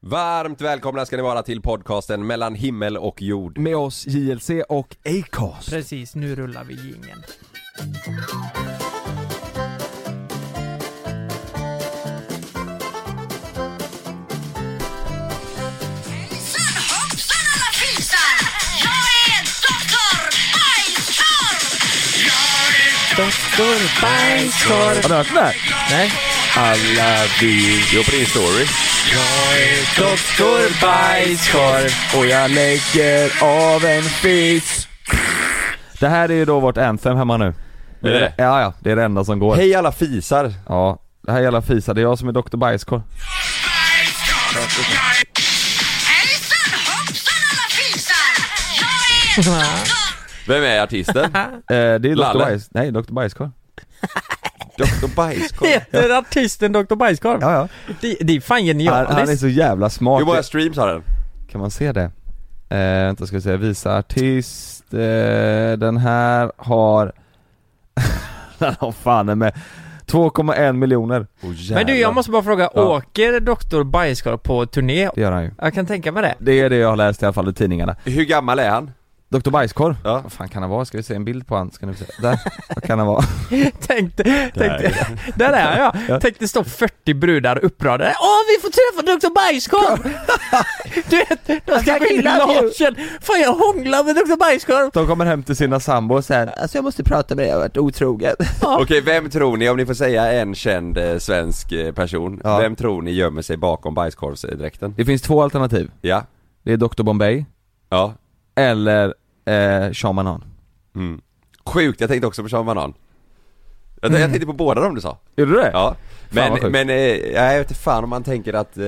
Varmt välkomna ska ni vara till podcasten mellan himmel och jord. Med oss JLC och Acast. Precis, nu rullar vi jingeln. Hoppsan, hoppsan alla fisar! Jag är doktor Bajskorv! Doktor Bajskorv! Har ni hört den här? Nej, Alla vi Jo, på din story. doktor bajskorv och jag lägger av en fis. Det här är ju då vårt anthem hemma nu. Är det det? Ja, ja, det är det enda som går. Hej alla fisar. Ja, det här jävla fisar, det är jag som är doktor Eh, bajskorv. Hejsan, hoppsan alla fisar! Jag är doktor... Vem är artisten? Eh, det är doktor Lalle. bajs, nej doktor bajskorv. Dr Bajskorv. heter artisten Dr Bajskorv? Ja, ja. Det, det är fan Han, genialiskt. han är så jävla smart. Hur många streams har den? Kan man se det? Eh, vänta ska vi se, visa artist, eh, den här har, den har fan med 2,1 miljoner, Oh, Men du, jag måste bara fråga, Ja. åker Dr Bajskorv på turné? det gör han ju. Jag kan tänka mig det. Det är det jag har läst i alla fall i tidningarna. Hur gammal är han? Dr Bajskorv, Ja. vad fan kan han vara? Ska vi se en bild på han? Ska ni se? Där, vad kan han vara? Tänkte, tänkte, där är jag. Tänkte stå 40 brudar uppradade. Åh, vi får träffa Dr Bajskorv! du vet, de ska bli lagen. Fan, jag hånglar med Dr Bajskorv. De kommer hem till sina sambo och säger Alltså jag måste prata med dig, jag har varit otrogen. Okej, vem tror ni, om ni får säga en känd eh, svensk eh, person, Ja. vem tror ni gömmer sig bakom bajskorvsdräkten? Det finns två alternativ. Ja, Det är Dr Bombay ja. eller eh, Sean Manan. Mm. Sjukt, jag tänkte också på Sean Banan. Jag, jag tänkte på båda de du sa. Gjorde du det? Ja. Men, Mm. vad sjukt. men eh, jag vet inte fan om man tänker att eh,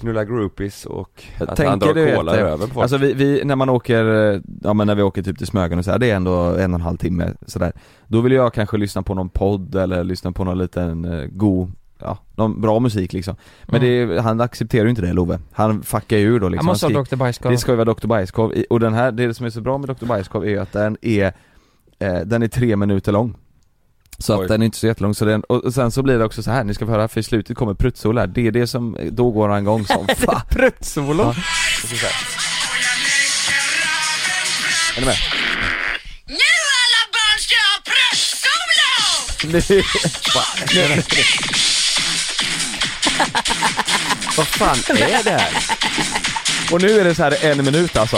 knulla groupies och att han drar cola i vet, röven på folk. Alltså vi, vi, när man åker, eh, ja men när vi åker typ till Smögen och så här, det är ändå en och en halv timme sådär Då vill jag kanske lyssna på någon podd eller lyssna på någon liten eh, god, ja, någon bra musik liksom Men det, han accepterar ju inte det Love, han fuckar ju ur då Mm. Jag liksom måste han ha skri- Dr Bajskorv. Det ska ju vara Dr Bajskorv, i- och den här, det som är så bra med Dr Bajskorv är ju att den är, eh, den är tre minuter lång så Oj. att den är inte så jättelång, så den, och och sen så blir det också så här, ni ska få höra, för i slutet kommer pruttsol här, det är det som, då går han igång som fan Pruttsolo. Är ni med? Nu alla barn ska ha bröstsolo! Vad fan är det här? Och nu är det så här en minut alltså.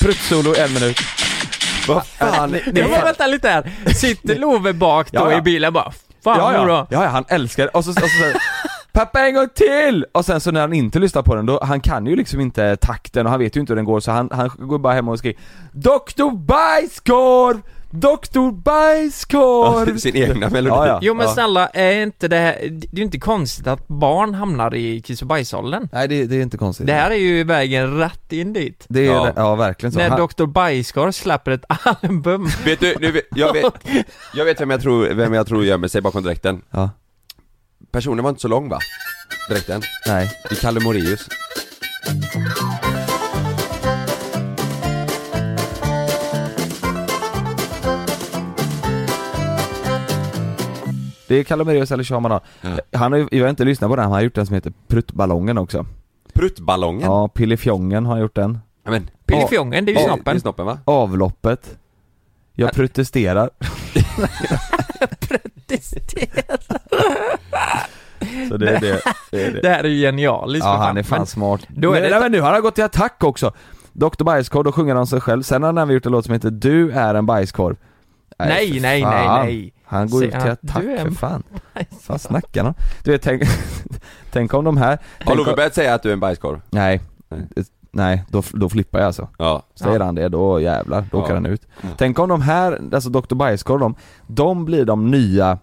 Pruttsolo en minut. Vad fan? äh, Ni, Nej, men vänta lite här. Sitter Love bak då Ja, ja. i bilen bara Fan ja, ja. då. ja, ja, han älskar det. Och så, och så, så Pappa en gång till! Och sen så när han inte lyssnar på den då, han kan ju liksom inte takten och han vet ju inte hur den går så han, han går bara hem och skriker Doktor Bajskorv! Doktor Bajskorv! Sin egna melodi. Ja, ja. Jo men snälla, är inte det här, det är ju inte konstigt att barn hamnar i kiss och bajsåldern. Nej det, det är inte konstigt. Det här är ju vägen rätt in dit. det är, Ja. ja. ja verkligen så. När Han- Dr Bajskorv släpper ett album. Vet du, nu, vet- jag, vet, jag vet vem jag tror, vem jag tror gömmer sig bakom dräkten. Ja, Personen var inte så lång va? Dräkten. nej. I Kalle Moraeus. Det är Kalomerius eller Sean Banan. Han har ju, jag har inte lyssnat på den, han har gjort en som heter Pruttballongen också. Pruttballongen. Ja. Ja, Pillefjongen har gjort den. Men, Pillifjongen, det är ju Ja, snoppen. i snoppen va? Avloppet. Jag protesterar. Så det är det. det, är det. Det här är ju genialiskt Ja, för han är Men fan smart. då är men, det- nej, men nu, han har gått till attack också. Dr Bajskorv, då sjunger han sig själv. Sen har han även gjort en låt som heter 'Du är en bajskorv' Nej, nej, för nej, fan. nej. Han går ut Säger till han, attack, "Du är en för fan. Vad snackar han om? Du vet, tänk, tänk om de här... Har tänk Love om, börjat säga att du är en bajskorv? nej, Nej. nej, då, då flippar jag alltså. Ja. Säger han det, då jävlar, då Ja. åker han ut. Mm. Tänk om de här, alltså Dr Bajskorv de, de blir de nya,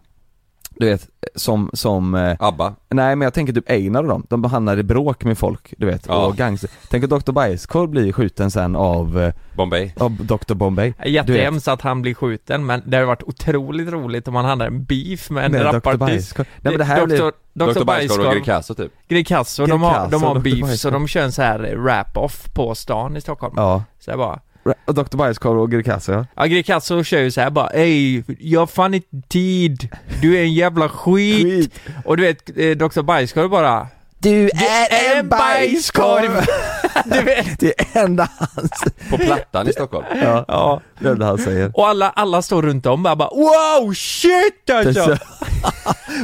du vet, som, som, eh, Abba. nej men jag tänker typ Einar och dem, de hamnar i bråk med folk, du vet, Ja. och gangster. Tänk att Dr Bajskorv blir skjuten sen av, eh, Bombay. av Dr Bombay. Du vet, Jättehemskt att han blir skjuten men det hade varit otroligt roligt om han hade en beef med en med Dr rapartist. Bajskorv. Nej men det här blir, Dr. Dr Bajskorv och Bajskorv Greekazo typ. Greekazo, Greek de har, Castle, de har Dr. beef så Bajskorv. de kör en så här rap-off på stan i Stockholm. ja. Så jag bara, Och Dr Bajskorv och Greekazo ja. ja Greekazo kör ju så här bara Ey, jag har fan inte tid, du är en jävla skit. Och du vet, eh, Dr Bajskorv bara Du är en bajskorv. Du vet. Det är enda han säger. På Plattan i Stockholm. Ja, ja, det enda han säger. Och alla, alla står runt om och bara wow shit alltså!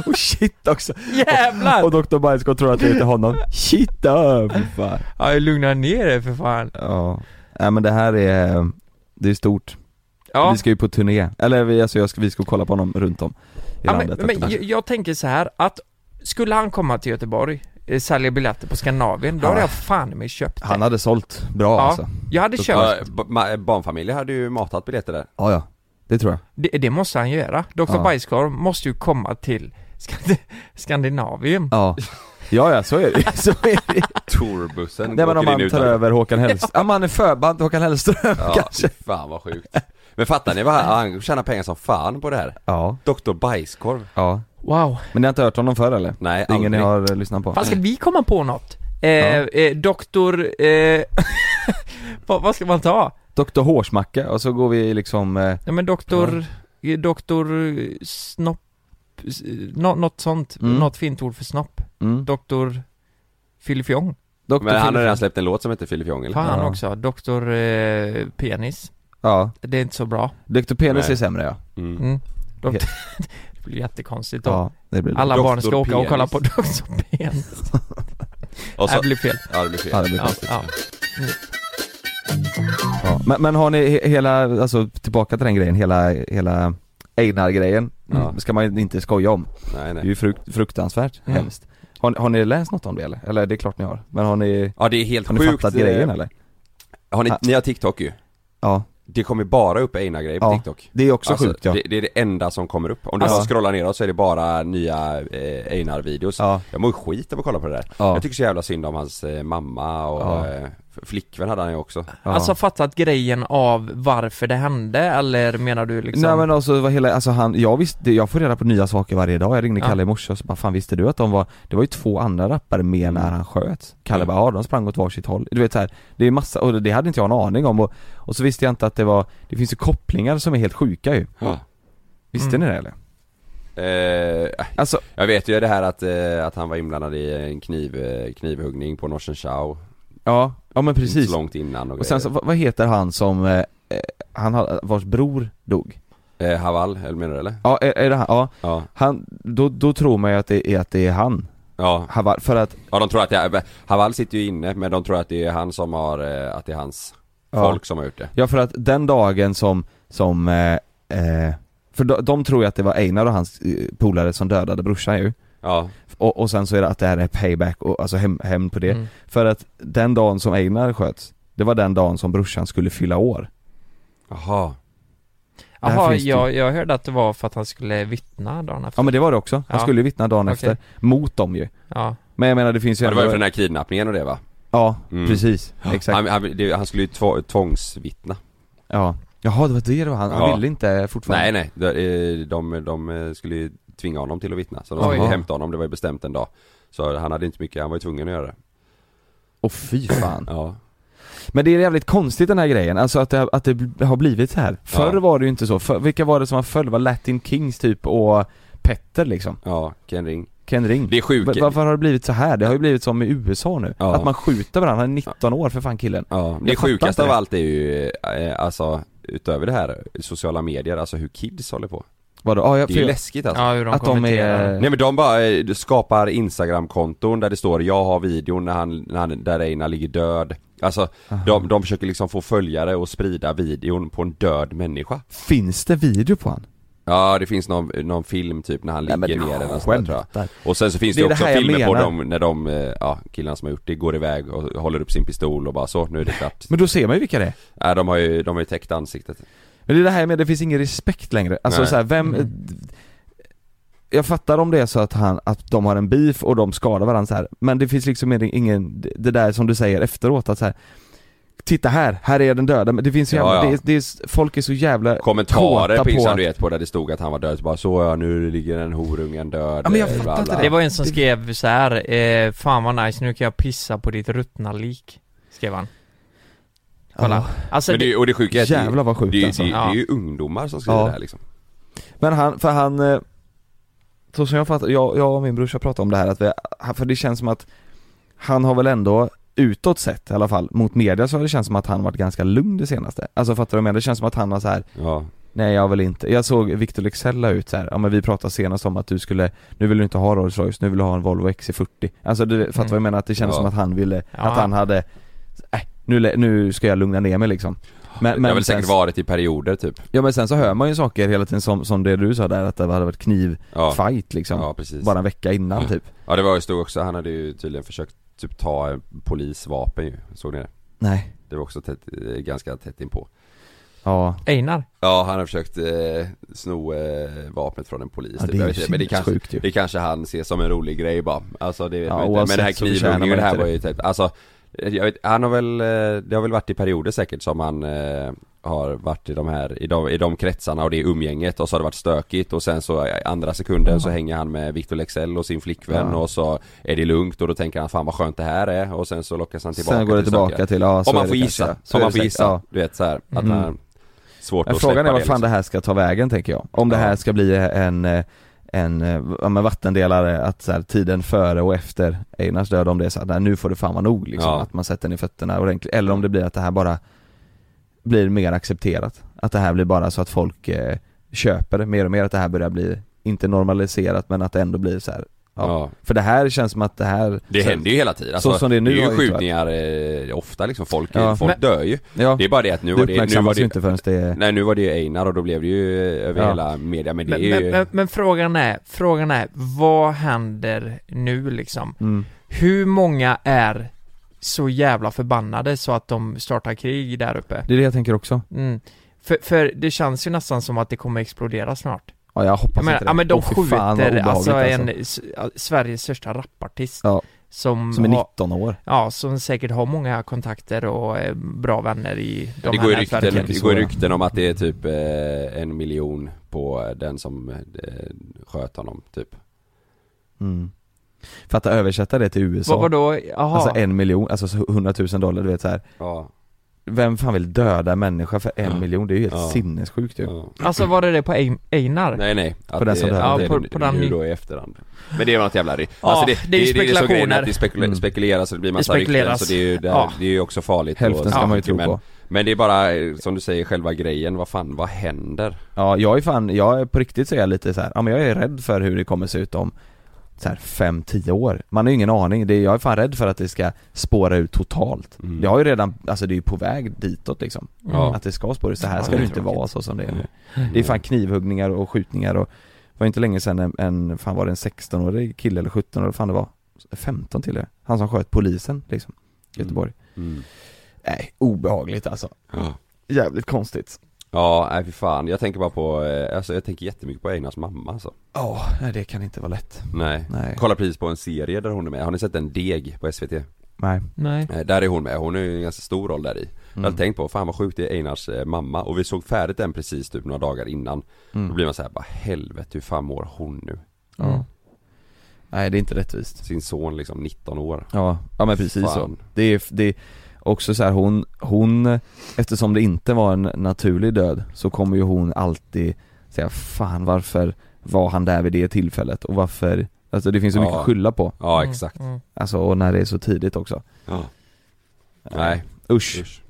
och shit också. Jävlar! Och Dr. Bajskorv tror att det är till honom. Shit då, för fan. Ja, lugna ner dig för fan. Ja, nej men det här är, det är stort. Ja. Vi ska ju på turné, eller vi, alltså jag ska, vi ska kolla på honom runt om i Ja, men, landet. men jag, jag tänker så här att skulle han komma till Göteborg, eh, sälja biljetter på Skandinavien, då hade jag fan i mig köpt det. han hade sålt bra ja, alltså. Jag hade Ja, köpt. ba- ma- barnfamiljer hade ju matat biljetter där. Ja, ja. Det tror jag. Det, det måste han göra. Dr. Ja. Bajskorv måste ju komma till Skand Skandinavien. Ja. Ja, ja så är det så är det. Tourbussen Nej men om åker in man tar utan- över Håkan Hellström, ja. om han är förband till Håkan Hellström Ja, kanske. fy fan vad sjukt. Men fattar ni vad han, han tjänar pengar som fan på det här? Ja, Doktor Bajskorv. ja. Wow. Men ni har inte hört honom förr eller? Nej, Det är Ingen ni aldrig. har eh, lyssnat på? Fan ska vi komma på något? Eh, Ja. eh, doktor... Eh, vad, vad ska man ta? Doktor Hårsmacka och så går vi liksom, eh, Ja men doktor... eh, Doktor eh, Snopp... s- eh, Nå, något sånt. Mm. Något fint ord för snopp. mm. Doktor... Filifjong. Doktor Men han har Filip- redan släppt en låt som heter Filip Jong eller? Fan Ja. också. Doktor eh, Penis. Ja, Det är inte så bra. Doktor Penis Nej. är sämre ja. Mm. Mm. Doktor... det blir jättekonstigt då. Ja, det blir det. Alla Doktor barn ska åka och kolla Penis. på Doktor Penis. Och Nej, så, Äh, Det blir fel. ja det blir Ja, fel. det blir Ja, konstigt. ja. Ja. Men, men har ni he- hela, alltså tillbaka till den grejen, hela, hela Einar-grejen, Mm, Ja. ska man ju inte skoja om. Nej, Det nej. är ju frukt, fruktansvärt Mm. hemskt. Har, har ni läst något om det eller? Eller det är klart ni har. Men har ni, Ja det är helt har ni sjukt. eh, fattat grejen eller? Har ni, Ja. ni har TikTok ju. Ja, Det kommer bara upp Einar-grejer på Ja. TikTok. det är också Alltså, sjukt ja. det, det är det enda som kommer upp. Om du Ja. bara scrollar neråt så är det bara nya eh, Einar-videos. Ja. Jag mår skit av att kolla på det där. Ja. Jag tycker så jävla synd om hans eh, mamma och Ja. eh, f- flickvän hade han ju också. ja. Alltså fattat grejen av varför det hände eller menar du liksom? Nej men alltså vad hela, alltså han, jag visste, jag får reda på nya saker varje dag. Jag ringde Ja. Kalle i morse och så bara fan visste du att de var, det var ju två andra rappare med när han sköt. Kalle Mm. bara ja de sprang åt varsitt håll. Du vet så här, det är massa, och det hade inte jag en aning om och, och så visste jag inte att det var, det finns ju kopplingar som är helt sjuka ju. Visste Mm. ni det eller? Eh, Alltså, jag vet ju det här att, eh, att han var inblandad i en kniv, eh, knivhuggning på Norsen Chow. ja, ja men Inte precis. så långt innan och, Och sen så, vad vad heter han som, eh, eh, han, har- vars bror dog? grejer. Eh, Haval, eller menar du eller? Ja, är, är det han? Ja, Ja. han, då, då tror man ju att det är, att det är han. Ja, han var, för att, ja de tror att det är, Haval sitter ju inne men de tror att det är han som har, eh, att det är hans Ja. folk som har gjort det. ja för att den dagen som, som, eh, eh, för de, de tror ju att det var Einar och hans eh, polare som dödade brorsan ju. Ja, Och, och sen så är det att det här är payback, och, alltså hem- hämnd på det. Mm. För att den dagen som Einar sköts, det var den dagen som brorsan skulle fylla år. jaha. Där Jaha, finns det ju- jag, jag hörde att det var för att han skulle vittna dagen efter. Ja men det var det också, han Ja. skulle ju vittna dagen Okej. efter, mot dem ju. Ja. Men jag menar det finns ju Ja, det var ju ändå- för den här kidnappningen och det va? Ja, Mm. precis. Exakt. Han, han, det, han skulle ju två, tvångsvittna. Ja. Jaha, det var det det var han, han Ja. ville inte fortfarande? Nej nej, de, eh, de, de eh, skulle ju tvinga honom till att vittna. Så de skulle ju Oj. hämta honom, det var ju bestämt en dag. Så han hade inte mycket, han var ju tvungen att göra det. Åh fy fan. Ja. Men det är jävligt konstigt den här grejen, alltså att det, att det har blivit så här. Förr Ja. var det ju inte så, För, vilka var det som var förr? Det var Latin Kings typ och Petter liksom, Ja, Ken Ring. Ken Ring. Det är sjukt. Va- Varför har det blivit så här? Det har ju blivit som i USA nu, Ja. att man skjuter varandra, han är 19 år för fan killen. Ja, Jag det fattar sjukaste inte av det. allt är ju, eh, alltså utöver det här, sociala medier, alltså hur kids håller på. Vadå? Ja, jag, Det är ju för- läskigt alltså. ja, hur de att de kommenterar. är... Nej men de bara eh, skapar instagramkonton där det står 'Jag har videon när han, när han där Einar ligger död' Alltså, de, de försöker liksom få följare och sprida videon på en död människa Finns det video på han? Ja det finns någon, någon film typ när han ligger ner eller något sånt där, tror jag Och sen så finns det, Det är det också här jag filmer på menar. dem när de, eh, ja killarna som har gjort det går iväg och håller upp sin pistol och bara så, nu är det klart Men då ser man ju vilka det är. Nej de har ju, de har ju täckt ansiktet Men det är det här med, det finns ingen respekt längre. Alltså Nej. Mm. så här, vem... Jag fattar om det är så att han, att de har en beef och de skadar varandra så här. men det finns liksom ingen, det där som du säger efteråt att så här. Titta här, här är den döda, men det finns ju Ja, jävla, ja. Det är, det är, folk är så jävla Kommentarer kåta på Instagram att- du vet på där det stod att han var död, så bara så ja, nu ligger en horungen död Ja, men jag eh, fattar bla, bla. inte Det var en som skrev så här, eh, fan vad nice, nu kan jag pissa på ditt ruttna lik. Skrev han. Kolla. Ja. Alltså, Men det, och det sjuka är att det- Jävlar vad sjukt det, alltså. det, det, Ja. är ju ungdomar som skriver Ja. det här liksom Men han, för han, eh, så som jag fattar, jag, jag och min brorsa pratade om det här att vi, han- för det känns som att han har väl ändå utåt sett i alla fall, mot media så har det känts som att han varit ganska lugn det senaste. Alltså fattar du vad jag menar? Det känns som att han var så här. Ja, nej jag vill inte. Jag såg Victor Leksell la ut så här. ja men vi pratade senast om att du skulle, nu vill du inte ha Rolls Royce, nu vill du ha en Volvo XC40. Alltså du fattar vad jag menar? Att det kändes Mm. Ja. som att han ville, Ja. att han hade, äh, nu, lä- nu ska jag lugna ner mig liksom. Men, det har väl sen- säkert varit i perioder typ Ja men sen så hör man ju saker hela tiden som, som det du sa där, att det hade varit knivfight Ja, liksom. ja precis Bara en vecka innan typ. Ja det var ju stod också, han hade ju tydligen försökt typ ta eh, polisvapen ju, såg ni det? Nej. Det var också tätt, eh, ganska tätt inpå Ja. Einar? Ja han har försökt eh, sno eh, vapnet från en polis Ja, typ. det är Jag ju vet inte, Men det kanske, sinnessjukt ju. det kanske han ser som en rolig grej bara Alltså det vet Ja, man inte, men oavsett den här så förtjänar knivhuggningen det man här inte var ju typ, alltså eh, jag vet, han har väl, eh, det har väl varit i perioder säkert som han eh, har varit i de här, i de, i de kretsarna och det umgänget och så har det varit stökigt och sen så eh, andra sekunden så hänger han med Victor Leksell och sin flickvän Ja. och så är det lugnt och då tänker han fan vad skönt det här är och sen så lockas han tillbaka Sen går det till tillbaka stökiga. till, ja så Om är man det får kanske, gissa, ja. Så om är man det får säkert, gissa, ja. du vet så här, att Mm. man Svårt Men att Frågan släppa liksom. är vart fan det här ska ta vägen tänker jag. Om det Ja. här ska bli en, eh, en eh, ja, men vattendelare, att så här, tiden före och efter Einars död, om det är så att nej, nu får det fan vara nog liksom, Ja. att man sätter den i fötterna ordentligt. Eller om det blir att det här bara blir mer accepterat. Att det här blir bara så att folk eh, köper det mer och mer, att det här börjar bli, inte normaliserat men att det ändå blir så här. Ja. Ja. För det här känns som att det här Det så, händer ju hela tiden, alltså, så som det är nu det är har ju ju tyvärr- skjutningar eh, ofta liksom, folk, Ja. folk Men- dör ju Ja, Det är bara det att nu det var det, nu var uppmärksammas ju det inte förrän det är Nej nu var det ju Einar och då blev det ju eh, över Ja. hela media men det Men, är ju men, men, men frågan är, frågan är, vad händer nu liksom? mm. Hur många är så jävla förbannade så att de startar krig där uppe? Det är det jag tänker också. Mm. För, för det känns ju nästan som att det kommer explodera snart. Ja jag hoppas Jag menar, inte det. ja men de Åh, fy skjuter fan, vad obehagligt, alltså, en, s- ja, Sveriges största rapartist. Ja. Som, Som är har, 19 år. ja, som säkert har många kontakter och eh, bra vänner i de Det här går ju nätverken. rykten, det så, går ja. rykten om att det är typ eh, en miljon på eh, den som eh, sköt honom typ Mm. För att översätta det till USA, Vad, vadå? Jaha. alltså en miljon, alltså så 100 000 dollar du vet så här. Ja, Vem fan vill döda en människa för en Ja. miljon? Det är ju helt Ja. sinnessjukt ju. ja. Alltså var det det på Ein- Einar? Nej nej, att På den det, som att dör. det, Ja, på- på den nu ny- då i efterhand Men det är något jävla ry- Ja, det är ju som grejen, spekulationer. att Det spekula- Mm. spekuleras och det blir massa Det rykten spekuleras. så det är ju, det, Ja. det är ju också farligt och- Hälften ska ja, man ju tro men, på. Men det är bara, eh, som du säger, själva grejen, vad fan, vad händer? Ja, jag är fan, jag är på riktigt så är jag lite så här, ja men jag är rädd för hur det kommer se ut om så här 5-10 år. Man har ju ingen aning, det, är- jag är fan rädd för att det ska spåra ut totalt. Mm. Det har ju redan, alltså det är ju på väg ditåt liksom. Mm. Ja. Att det ska spåra ut, så här Ja, ska det det är inte tråkigt. vara så som det är nu. Det är fan knivhuggningar och skjutningar och det var inte länge sedan en, en fan var det en 16-årig kille eller 17 årig fan det var 15 till och med. Han som sköt polisen liksom, i Göteborg. Mm. Nej, obehagligt alltså. Ja. Jävligt konstigt. Ja, nej fy fan. Jag tänker bara på, eh, alltså jag tänker jättemycket på Einars mamma alltså. Ja, nej, det kan inte vara lätt. Nej. Nej. Kollar precis på en serie där hon är med, har ni sett en Deg på SVT? Nej. Nej. Eh, Där är hon med, hon har ju en ganska stor roll där i. Mm. Jag har tänkt på, fan vad sjukt det är Einars eh, mamma och vi såg färdigt den precis typ några dagar innan. Mm. Då blir man så här, bara helvete hur fan mår hon nu? Mm. Ja. Nej, det är inte rättvist. Sin son liksom 19 år. Ja, ja men precis så. Fan. Det är, det är också så här, hon, hon, eftersom det inte var en naturlig död så kommer ju hon alltid säga fan varför var han där vid det tillfället och varför, alltså det finns så mycket Ja. att skylla på. Ja Mm, exakt. mm. Alltså och när det är så tidigt också. Ja. Nej, Usch. usch.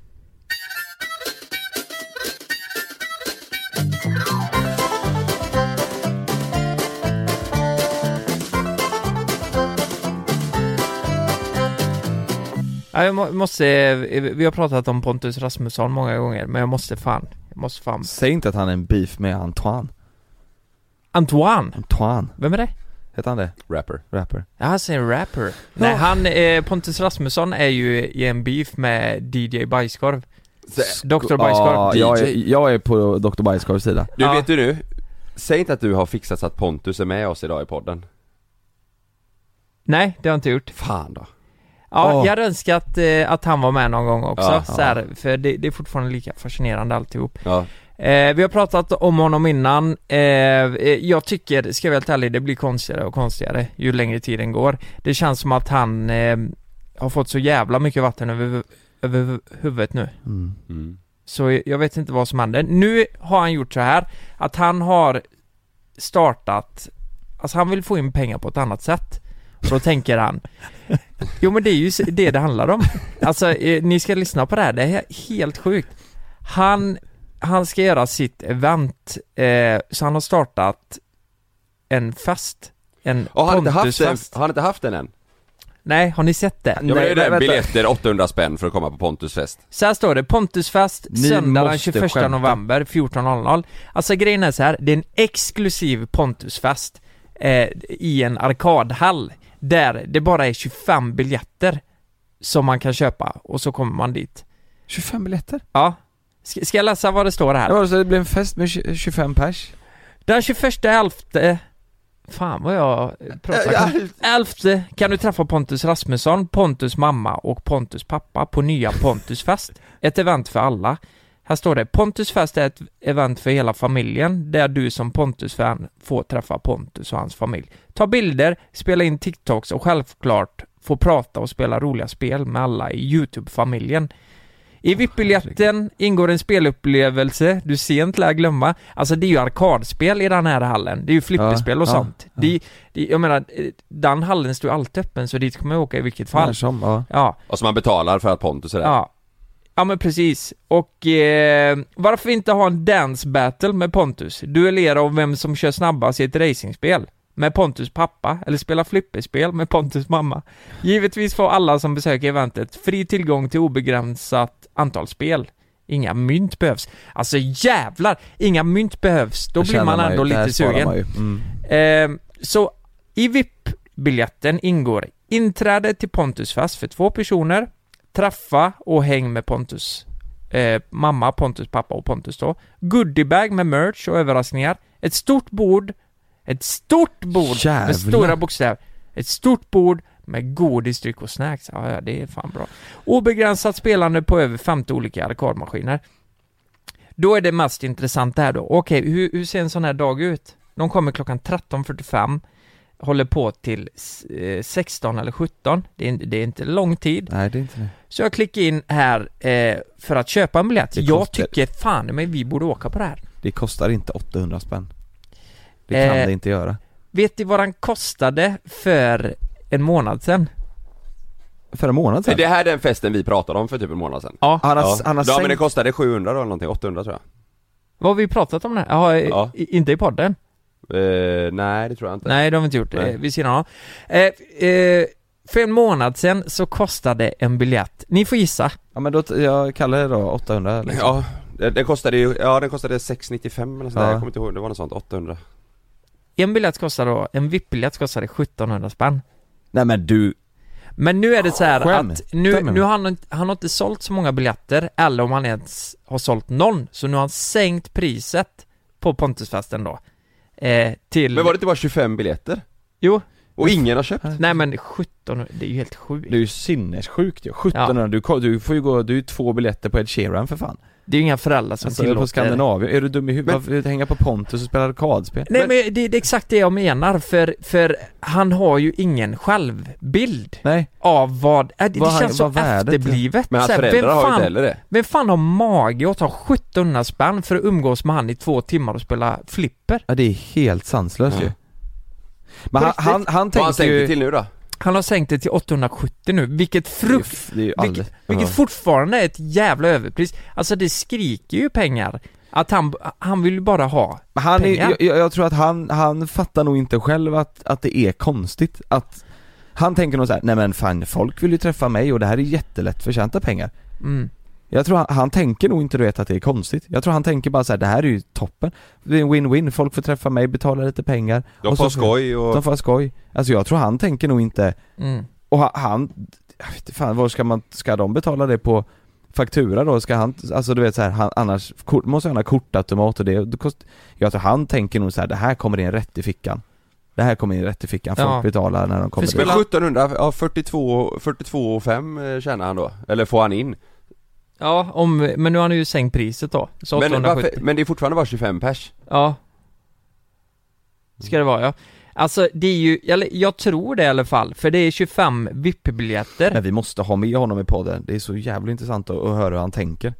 Ja, jag må- måste, eh, vi har pratat om Pontus Rasmusson många gånger, men jag måste fan, jag måste fan Säg inte att han är en beef med Antoine. Antoine! Antoine, Vem är det? heter han det? Rapper. Rapper. Ja, han säger rapper. Nej, han, eh, Pontus Rasmusson är ju i en beef med DJ Bajskorv. Dr Bajskorv. Ja, DJ. jag, är, jag är på Dr. Bajskorvs sida. Du Ja. vet du nu, säg inte att du har fixat så att Pontus är med oss idag i podden. Nej, det har jag inte gjort. Fan då. Ja, Åh. jag hade önskat eh, att han var med någon gång också, Ja. så här, för det, det är fortfarande lika fascinerande alltihop. Ja. Eh, vi har pratat om honom innan, eh, eh, jag tycker, ska jag vara helt ärlig, det blir konstigare och konstigare ju längre tiden går. Det känns som att han eh, har fått så jävla mycket vatten över, över huvudet nu. Mm. Mm. Så jag vet inte vad som händer. Nu har han gjort så här att han har startat, alltså han vill få in pengar på ett annat sätt. Då tänker han Jo men det är ju s- det det handlar om Alltså eh, ni ska lyssna på det här, det här är helt sjukt Han, han ska göra sitt event eh, Så han har startat en fest En Ja, har han inte haft den, Pontusfest har han inte haft den än? Nej, har ni sett det? Ja, men det är Nej, den, vänta. biljetter 800 spänn för att komma på Pontus fest Så här står det, Pontusfest Ni söndag den måste 21 skämta. november 14.00 Alltså grejen är så här, det är en exklusiv Pontusfest eh, I en arkadhall Där det bara är 25 biljetter Som man kan köpa och så kommer man dit 25 biljetter? Ja Ska, ska jag läsa vad det står här? Ja, så det blev en fest med 20 25 pers Den 21 elfte Fan vad jag pratar Elfte kan du träffa Pontus Rasmusson, Pontus mamma och Pontus pappa på nya Pontusfest. Ett event för alla. Här står det Pontusfest är ett event för hela familjen där du som Pontus-fan får träffa Pontus och hans familj. Ta bilder, spela in TikToks och självklart få prata och spela roliga spel med alla i YouTube-familjen. I VIP-biljetten ingår en spelupplevelse du sent lär glömma. Alltså det är ju arkadspel i den här hallen. Det är ju flipperspel och Ja, sånt. ja. Det, det, jag menar, eh, den hallen står ju alltid öppen så dit kommer jag åka i vilket fall. När som, ja. Ja, Och som man betalar för att Pontus är där ja. Ja men precis. Och eh, varför inte ha en dance battle med Pontus? Duellera om vem som kör snabbast i ett racingspel. Med Pontus pappa, eller spela flipperspel med Pontus mamma. Givetvis får alla som besöker eventet fri tillgång till obegränsat antal spel. Inga mynt behövs. Alltså jävlar! Inga mynt behövs. Då blir tjänar man ju. ändå Där lite sparar sugen. man ju. Mm. Ehm, så i VIP-biljetten ingår inträde till Pontus fest för två personer, träffa och häng med Pontus eh, mamma, Pontus pappa och Pontus då, goodiebag med merch och överraskningar, ett stort bord, ett stort bord Jävlar. med stora bokstäver, ett stort bord med godis, dryck och snacks. Ja, ja, det är fan bra. Obegränsat spelande på över 50 olika arkadmaskiner. Då är det mest intressant här då. Okej, hur, hur ser en sån här dag ut? De kommer klockan 13.45, håller på till eh, 16 eller 17. Det är, inte- det är inte lång tid. Nej det är inte det Så jag klickar in här eh, för att köpa en biljett. Det Jag kostar. tycker fan men vi borde åka på det här. Det kostar inte 800 spänn Det kan Eh. det inte göra Vet ni vad den kostade för en månad sedan? För en månad Är sedan? det här den festen vi pratade om för typ en månad sedan? Ja. Han har, Ja, han har ja sänkt... men det kostade 700 då eller någonting, 800 tror jag Vad har vi pratat om det här? Jaha, eh, Ja. i- inte i podden? eh, Nej det tror jag inte Nej, det har vi inte gjort. Nej. Eh, vid sidan av. Eh, eh, för en månad sedan så kostade en biljett, ni får gissa. Ja men då, t- jag kallar det då 800 liksom. Ja, den den kostade ju, ja den kostade 695 eller nåt sånt där. Ja. jag kommer inte ihåg, det var något sånt, 800 Mm. En biljett kostar då, en VIP-biljett kostade 1700 spänn. Nej men du, Men nu är det så här Skämtar att nu, med mig. nu har han, inte- han har inte sålt så många biljetter, eller om han ens har sålt någon, så nu har han sänkt priset på Pontusfesten då. Eh, till... Men var det inte bara 25 biljetter? Jo, Och ingen har köpt? nej men 17, det är ju helt sjukt. det är ju sinnessjukt ju 1700, du, ko- du får ju gå, du är ju två biljetter på Ed Sheeran för fan Det är ju inga föräldrar som Alltså, på tillåter Skandinavien, är du dum i huvudet? Men- Varför hänga på Pontus och spela arkadspel? Nej men det, det är exakt det jag menar, för, för han har ju ingen självbild Nej, av vad, äh, det, Vad det han- känns så vad värdet är. efterblivet. Men hans Så här, föräldrar har ju fan, inte heller det vem fan har mage att ta 1700 spänn för att umgås med han i två timmar och spela flipper? ja, det är helt sanslöst Ja. ju Men han, riktigt? han, han Vad har han tänkte sänkt det ju... till nu då? Han har sänkt det till 870 nu, vilket frukt Det är ju aldrig... Vilket, vilket fortfarande är ett jävla överpris. Alltså det skriker ju pengar. Att han, han vill ju bara ha. Men han är, pengar. jag, jag jag tror att han, han fattar nog inte själv att, att det är konstigt att Han tänker nog såhär, nej men fan folk vill ju träffa mig och det här är jättelätt förtjänta pengar Mm. Jag tror han, han tänker nog inte du vet att det är konstigt Jag tror han tänker bara så här: det här är ju toppen Det är en win-win, folk får träffa mig, betala lite pengar De och Alltså, får så skoj och... De får ha skoj Alltså jag tror han tänker nog inte Mm. Och ha- han, jag vet inte fan, var ska man, ska de betala det på faktura då? Ska han, alltså du vet så här, han, annars kort, måste han ha kortautomat och det, det kost, Jag tror han tänker nog så här, det här kommer in rätt i fickan Det här kommer in rätt i fickan, folk Ja. betalar när de kommer För Men dit Spelar- 1700, ja 42, 42 och 5 eh, tjänar han då, eller får han in Ja, om, men nu har han ju sänkt priset då. Så men, 870. varför, men det är fortfarande bara 25 pers Ja Ska det vara ja Alltså det är ju, eller jag tror det i alla fall, för det är 25 VIP-biljetter Men vi måste ha med honom i podden, det är så jävligt intressant att, att höra hur han tänker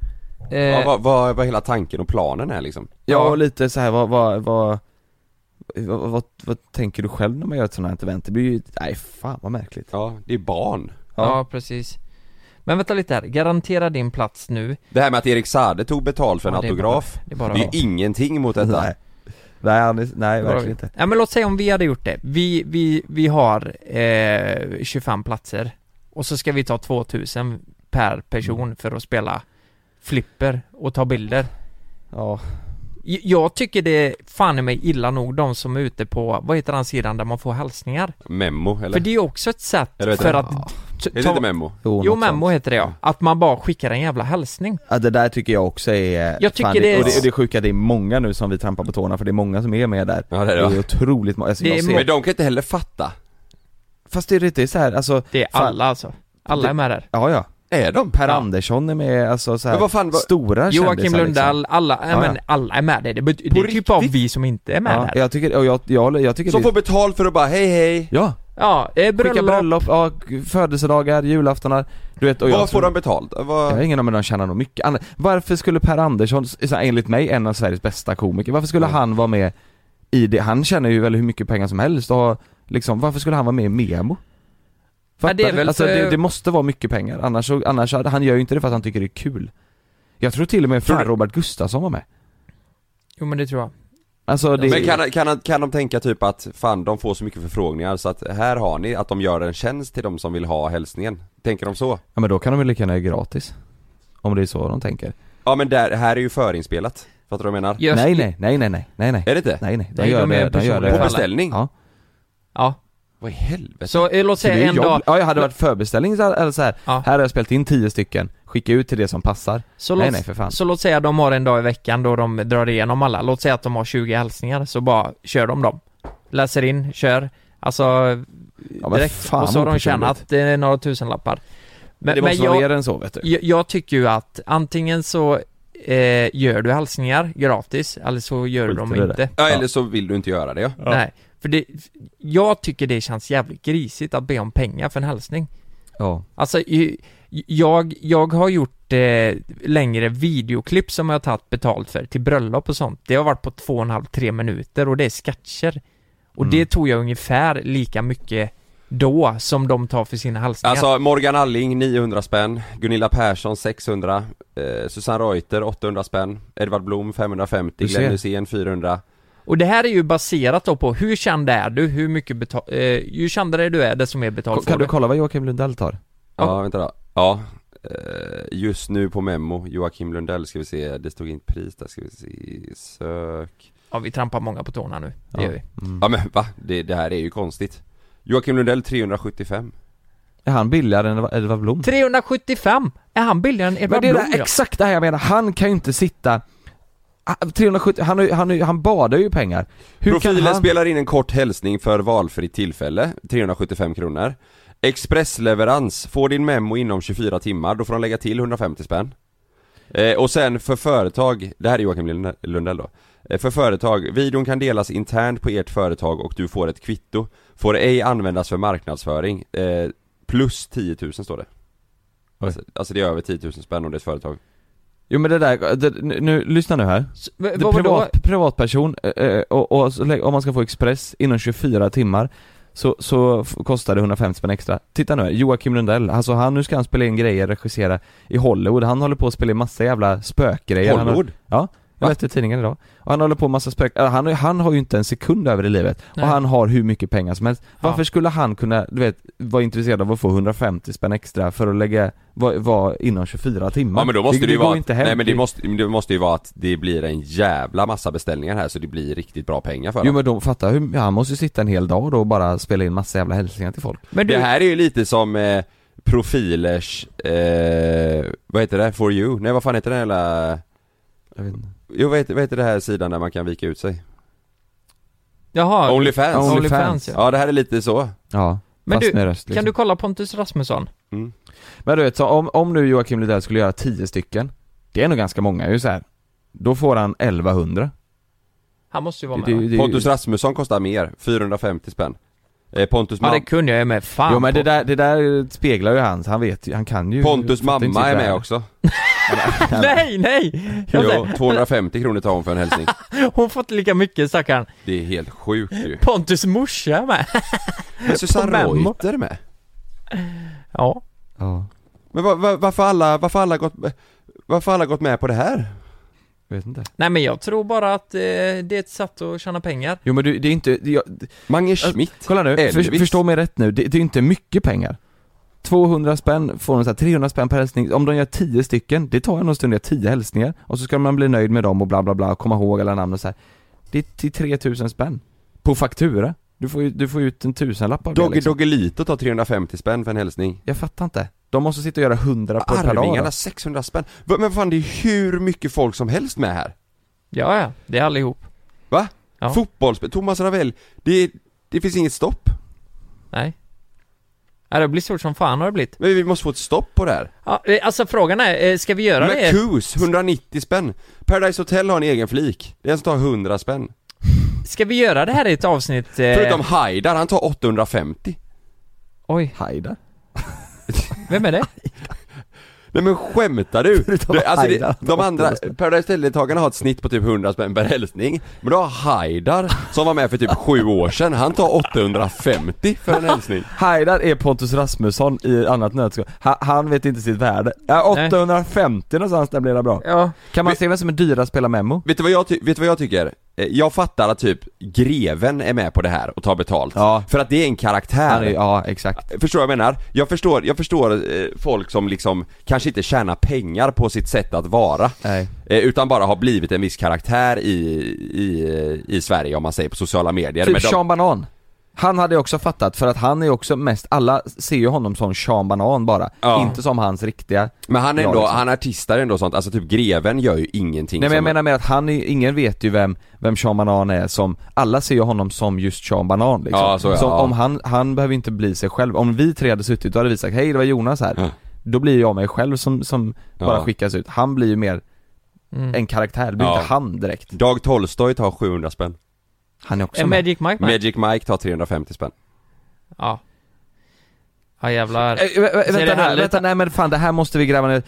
eh, ja, vad, vad, vad hela tanken och planen är liksom Ja, Ja. och lite så här vad, vad, vad vad, vad, vad tänker du själv när man gör ett sånt här event? Det blir ju, nej fan vad märkligt Ja, det är barn Ja. Ja. precis Men vänta lite här, garantera din plats nu Det här med att Erik Sade tog betalt för en Ja, det är autograf bara- det är bara Det är bra. ju ingenting mot detta Nej, nej, han är- nej Bra. verkligen inte Ja men låt säga om vi hade gjort det, vi, vi, vi har eh, 25 platser Och så ska vi ta 2000 per person för att spela flipper och ta bilder Ja, J- Jag tycker det är fan i mig illa nog de som är ute på, vad heter den sidan där man får hälsningar? Memo eller? För det är också ett sätt Eller vet för du- att... t- Är det ta- inte memo? jo, Jo, något Memmo sånt. heter det ja. Att man bara skickar en jävla hälsning. ja, det där tycker jag också är eh, Jag tycker fan, det är- och det, och det sjuka, det är många nu som vi trampar på tårna för det är många som är med där Ja, det är det, va? otroligt många, alltså, Det jag är ser, Men de kan inte heller fatta Fast det är lite så här, alltså Det är Fan. alla alltså. Alla är med där. Ja ja, Är de? Per Ja. Andersson är med, alltså så här, Men vad fan, vad- stora Joakim kändisar, liksom. Lundell, alla, ja, Ja, men ja. alla är med där. Det, bet- det är typ bara vi som inte är med Ja, där. Ja, jag tycker, och jag, jag, jag, tycker Som det får betalt för att bara hej hej Ja, eh, skicka bröllop. bröllop, ja, födelsedagar, julaftonar, du vet, och jag Vad får tror- de betalt? Jag har Vad... ingen aning, men de tjänar nog mycket annat. Varför skulle Per Andersson, så här, enligt mig en av Sveriges bästa komiker, varför skulle Mm. han vara med i det? Han tjänar ju väl hur mycket pengar som helst och har, liksom, varför skulle han vara med i Memo? Fattar det är du? väl alltså, för- det, det måste vara mycket pengar, annars, så- annars hade- han gör ju inte det för att han tycker det är kul. Jag tror till och med Tror fan du- Robert Gustafsson var med. Jo men det tror jag. Alltså det... Men kan, kan, kan de tänka typ att fan de får så mycket förfrågningar så att här har ni att de gör en tjänst till de som vill ha hälsningen? Tänker de så? Ja men då kan de väl lika gärna göra gratis? Om det är så de tänker. Ja men där, här är ju förinspelat Fattar du vad jag menar? Just, Nej nej, nej nej nej, nej nej. Är det inte? Nej nej, de Nej, gör de är det, de personliga gör det. På alla. beställning? Ja. Ja. Vad i helvete? Så eh, låt Så det säga är en jobb. dag, Ja, jag hade varit förbeställning så här- eller så här. Ja. här har jag spelat in tio stycken, skicka ut till det som passar. så, nej låt, nej för fan. så låt säga de har en dag i veckan då de drar igenom alla. Låt säga att de har 20 hälsningar, så bara kör de dem. Läser in, kör. Alltså Ja, men direkt. fan, och så har de opersonligt. tjänat eh, några tusenlappar. Men, det måste vara mer än så vet du. Jag, jag tycker ju att antingen så eh, gör du hälsningar gratis, eller så gör du Skiter dem i det. inte. Ja eller så vill du inte göra det ja. Nej, för det, jag tycker det känns jävligt grisigt att be om pengar för en hälsning. Ja. Alltså, i- jag, jag har gjort eh, längre videoklipp som jag har tagit betalt för till bröllop och sånt. Det har varit på två och en halv, tre minuter och det är sketcher. Och Mm. det tog jag ungefär lika mycket då som de tar för sina hälsningar. Alltså Morgan Alling 900 spänn, Gunilla Persson 600, eh, Susanne Reuter 800 spänn, Edvard Blom 550, Du ser. Glenn Hysén 400 Och det här är ju baserat då på hur känd är du, hur mycket betal... Eh, ju kändare du är, desto mer Ko- betalt får Kan du. du kolla vad Joakim Lundell tar? Ja, Ja. vänta då. Ja. Eh, Just nu på Memo, Joakim Lundell ska vi se, det stod inte pris där ska vi se, sök Ja, vi trampar många på tårna nu. Det Ja. gör vi. Mm. Ja men va? Det, det här är ju konstigt Joakim Lundell 375 Är han billigare än Edvard- Edvard Blom? 375! Är han billigare än Men Edvard det är Blom? det, ja? exakt det här jag menar, han kan ju inte sitta Ah, 370, han, har ju- han, har ju- han badar ju i pengar. Hur Profilen kan han... spelar in en kort hälsning för valfritt tillfälle, 375 kronor Expressleverans, får din Memo inom 24 timmar, då får de lägga till 150 spänn Eh, och sen för företag, det här är Joakim Lund- Lundell då Eh, För företag, videon kan delas internt på ert företag och du får ett kvitto Får ej användas för marknadsföring eh, Plus 10 000 står det Oj. alltså, alltså det är över 10 000 spänn om det är ett företag Jo men det där, det, nu, nu, lyssna nu här. S- v- Det Eh, vad var då? privat, privatperson, eh, eh, och, och så lä- om man ska få Express inom 24 timmar så, så f- kostar det 150 spänn extra. Titta nu, här, Joakim Lundell, alltså han, nu ska han spela in grejer, regissera i Hollywood, han håller på att spela in massa jävla spökgrejer Han Hollywood? Har, ja, jag Va? läste i tidningen idag. Och han håller på med massa spök, äh, han, har- han har ju inte en sekund över i livet Nej. och han har hur mycket pengar som helst. Ja. Varför skulle han kunna, du vet, vara intresserad av att få 150 spänn extra för att lägga, vara var inom 24 timmar? Ja men då måste det, ju går vara, inte hem. nej men det måste, det måste ju vara att det blir en jävla massa beställningar här så det blir riktigt bra pengar för Jo dem. men de fattar hur, ja, han måste ju sitta en hel dag då och bara spela in massa jävla hälsningar till folk Men Det du, här är ju lite som eh, profilers, eh, vad heter det? For you? Nej vad fan heter den hela, Jag vet inte. jo vad heter, vad heter det här sidan där man kan vika ut sig? jaha. Onlyfans? Only- Onlyfans ja. Ja det här är lite så, Ja, Men fast du, med röst Kan liksom. du kolla Pontus Rasmusson? Men du vet, så om, om nu Joakim Lundell skulle göra 10 stycken Det är nog ganska många ju så här. Då får han 1100 Han måste ju vara det, med det, va? det, Pontus Rasmusson kostar mer, 450 spänn Eh, Pontus, Ja det mam- kunde jag ju med, fan Jo men det på. där, det där speglar ju hans, han vet ju, han kan ju Pontus fattar inte mamma sitt är med värde. också. Nej, nej! Jag Jo, säger, 250 kronor tar hon för en hälsning. hon fått lika mycket stackarn. Det är helt sjukt ju. Pontus morsa med. Men Susanne Memmo. Reuter med. Ja. Ja, Men va, va, varför alla, varför alla gått, varför alla gått med på det här? vet inte Nej men jag tror bara att eh, det är ett sätt att tjäna pengar. Jo men du, det är inte, det- jag, Mange Alltså, Schmidt. kolla nu, Elvis. för, förstå mig rätt nu, det, det är inte mycket pengar 200 spänn får de så här, 300 spänn per hälsning, om de gör 10 stycken, det tar ju någon stund att göra 10 hälsningar och så ska man bli nöjd med dem och bla bla bla, och komma ihåg alla namn och så här. Det är till 3000 spänn, på faktura Du får ju, du får ut en tusenlapp av det Dogge liksom. Doggelito tar 350 spänn för en hälsning. Jag fattar inte, de måste sitta och göra 100 på per dag Arvingarna då. 600 spänn. Va- Men vad fan det är hur mycket folk som helst med här. Ja, ja. Det är allihop. Va? Ja. Fotbollsspel, Thomas Ravel. Det, är- det finns inget stopp. Nej. Nej, det blir stort som fan har det blivit. Men vi måste få ett stopp på det här. Ja, eh, alltså frågan är, eh, ska vi göra det? Marcus, 190 spänn. Paradise Hotel har en egen flik. Det är en som tar 100 spänn. Eh. Ska vi göra det här i ett avsnitt? Eh, Förutom Haidar, han tar 850. Oj, Haida? vem är det? Nej men skämtar du? Förutom det, alltså det, Haidar. de andra, Paradise Hotel-deltagarna har ett snitt på typ 100 spänn per hälsning Men då har Haidar, som var med för typ 7 år sedan, han tar 850 för en hälsning Haidar är Pontus Rasmusson i annat nötskal. Ha, han vet inte sitt värde. Ja, Nej. 850 någonstans där blir det bra. Ja. Kan man se vem som är dyra att spela Memo? Vet du vad jag, ty- vet du vad jag tycker? Eh, Jag fattar att typ greven är med på det här och tar betalt Ja. För att det är en karaktär Han är, ja, exakt. Förstår vad jag menar? Jag förstår, jag förstår eh, folk som liksom kanske inte tjänar pengar på sitt sätt att vara Nej. Eh, Utan bara har blivit en viss karaktär i, i, eh, i Sverige om man säger på sociala medier Typ Men de- Sean Banan. Han hade jag också fattat för att han är också mest, alla ser ju honom som Sean Banan bara. Ja. Inte som hans riktiga. Men han är Ja, ändå, liksom. han artistar ändå sånt, alltså typ greven gör ju ingenting Nej men jag som- menar med att han är, ingen vet ju vem, vem Sean Banan är som, alla ser ju honom som just Sean Banan liksom. Ja, så är det, ja. om han, han behöver inte bli sig själv. Om vi tre hade suttit, då hade vi sagt hej det var Jonas här. Ja. Då blir jag mig själv som, som bara Ja. skickas ut. Han blir ju mer en karaktär, det blir Ja. inte han direkt. Dag Tolstoj tar 700 spänn Han är också Är med. Magic Mike med? Magic Mike tar 350 spänn Ja. Ja jävlar. Äh, vä- vä- Så är det vänta, nu, härligt. vänta, nej men fan det här måste vi gräva ner.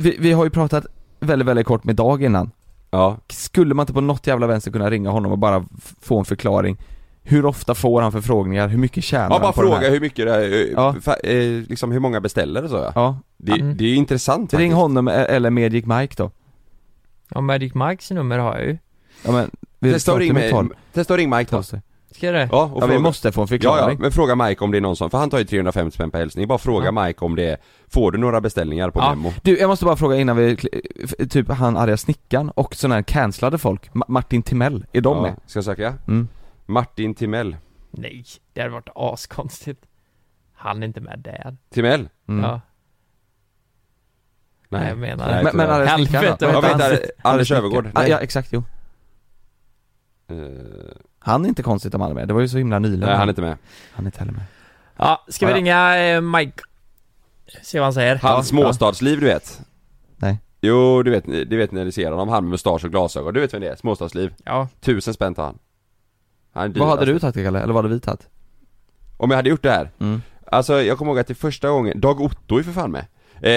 Vi, vi har ju pratat väldigt, väldigt kort med Dag innan. Ja, Skulle man inte på något jävla vänster kunna ringa honom och bara f- få en förklaring? Hur ofta får han förfrågningar? Hur mycket tjänar ja bara han på den här? fråga hur mycket det här, eh, Ja. fa- eh, liksom hur många beställer och så ja, Ja, Mm. Det, det är ju intressant ring faktiskt. honom e- eller Magic Mike då. Ja, Magic Mikes nummer har jag ju. Ja men, vi Testa att pratar ring, med med, tolv. testa att ring Mike då Tolv. Ska jag det? Ja, och Ja vi fråga- måste få en Ja, ja, förklaring. men fråga Mike om det är någon som, för han tar ju 350 spänn per hälsning, bara fråga Mike om det, är- får du några beställningar på Ja. Memo? Du, jag måste bara fråga innan vi, f- typ han arga snickaren och sådana här cancellade folk, Ma- Martin Timell, är de Ja, med? Ska jag söka? Mm. Martin Timell Nej, det hade varit askonstigt. Han är inte med där. Timell? Mm. Ja. Nej, jag menar det. Men, men tyvärr. arga snickaren Helvete, då? Ja, Vad heter vänta, han? Anders Övergård, Ja, nej. ja exakt, jo. Eh, Han är inte konstigt om han är med, det var ju så himla nyligen Nej han är inte med han är inte heller med Ja, ska vi Ja, ja. ringa eh, Mike? Se vad han säger. Hans Ja. småstadsliv du vet Nej. Jo du vet, det vet när ni ser honom, han med mustasch och glasögon, du vet vem det är, småstadsliv Ja. Tusen spänn tar han Han är Vad dyrast. hade alltså- du tagit Kalle? Eller vad hade vi tagit? Om jag hade gjort det här? Mm. Alltså jag kommer ihåg att det första gången, Dag Otto är för fan med eh,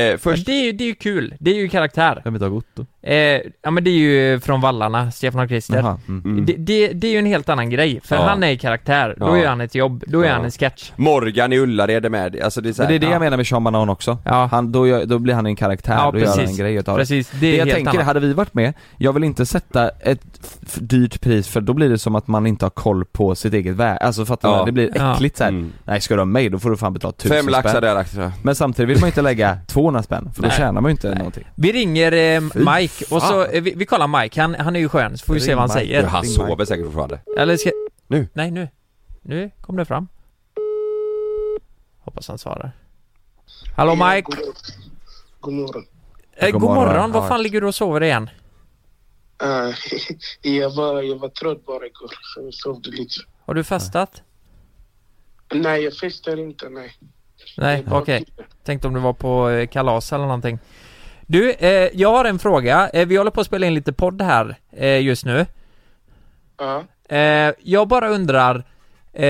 Men Först, Det är ju, det är ju kul. Det är ju karaktär. Vem är Dag Otto? Eh, ja men det är ju från Vallarna, Stefan och Christer. Jaha, mm. Mm. Det, det, det är ju en helt annan grej, för Ja. han är i karaktär, då Ja. gör han ett jobb, då är Ja. han en sketch. Mm. Morgan i Ullared är med, alltså det är så Men här, det är det jag menar med Sean Banan också, Ja. han, då, gör, då blir han en karaktär, Ja, då gör han en precis. grej utav det Precis, det är Det jag helt tänker, annat. hade vi varit med, jag vill inte sätta ett f- f- dyrt pris för då blir det som att man inte har koll på sitt eget värde, alltså fattar Ja. du? Det blir Ja. äckligt såhär, Mm. nej ska du ha mig då får du fan betala tusen Fem laxar spänn där laxar Men samtidigt vill man ju inte lägga 200 spänn, för då Nej. tjänar man ju inte någonting Vi ringer eh, Mike, och så, fan. eh, vi, vi kollar Mike, han, han är ju skön, så får vi se Ring vad han Mike. ja, säger. Han Ring sover Mike. säkert fortfarande Eller ska... Nu. Nej nu. Nu kom det fram. Hoppas han svarar. Hallå Mike! God morgon. Eh, God god morgon, morgon. vad Ja. fan ligger du och sover igen? Eh, jag, var, jag var trött bara igår, så jag sovde lite. Har du fastat? Nej, jag festar inte, nej. Nej, okej. Tänkte om du var på eh, kalas eller någonting. Du, eh, jag har en fråga. Eh, vi håller på att spela in lite podd här eh, just nu. Ja, Eh, jag bara undrar, Eh,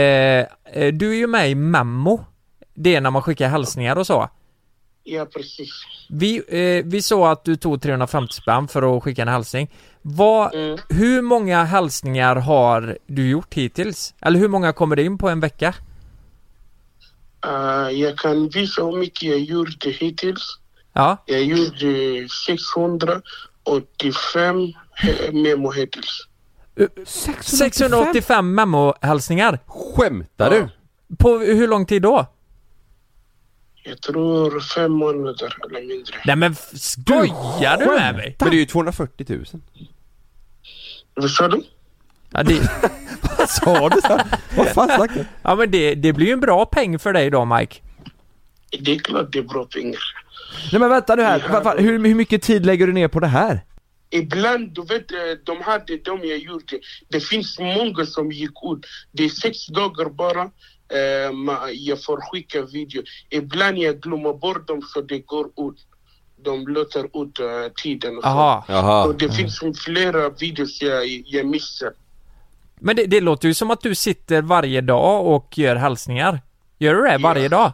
eh, du är ju med i Mammo. Det är när man skickar hälsningar och så. Ja, precis. Vi, eh, vi såg att du tog 350 spänn för att skicka en hälsning. Vad, Mm. Hur många hälsningar har du gjort hittills? Eller hur många kommer det in på en vecka? Eh, jag kan visa hur mycket jag gjorde hittills. Ja, Jag gjorde 685 he- eh, memo hittills. 685 memo-hälsningar. Skämtar du? På hur lång tid då? Jag tror fem månader eller mindre. Nej men f- skojar du, med mig? Men det är ju 240 000 Vad sa du? Ja, det, Sa du så? Vad fan snackar du? ja men det, det blir ju en bra peng för dig då Mike. Det är klart det är bra pengar. Nej men vänta nu här, vad fan, hur, hur mycket tid lägger du ner på det här? Ibland, du vet, eh, de hade de jag gjorde. Det finns många som gick ut. Det är sex dagar bara. eh, ma- jag får skicka uh, video. Ibland jag glömmer bort dem så det går ut. De låter ut eh, tiden. Och så. Jaha. Jaha Och det finns flera uh, videos jag, jag missar. Men det, det låter ju som att du sitter varje dag och gör hälsningar. Gör du det varje Ja. dag?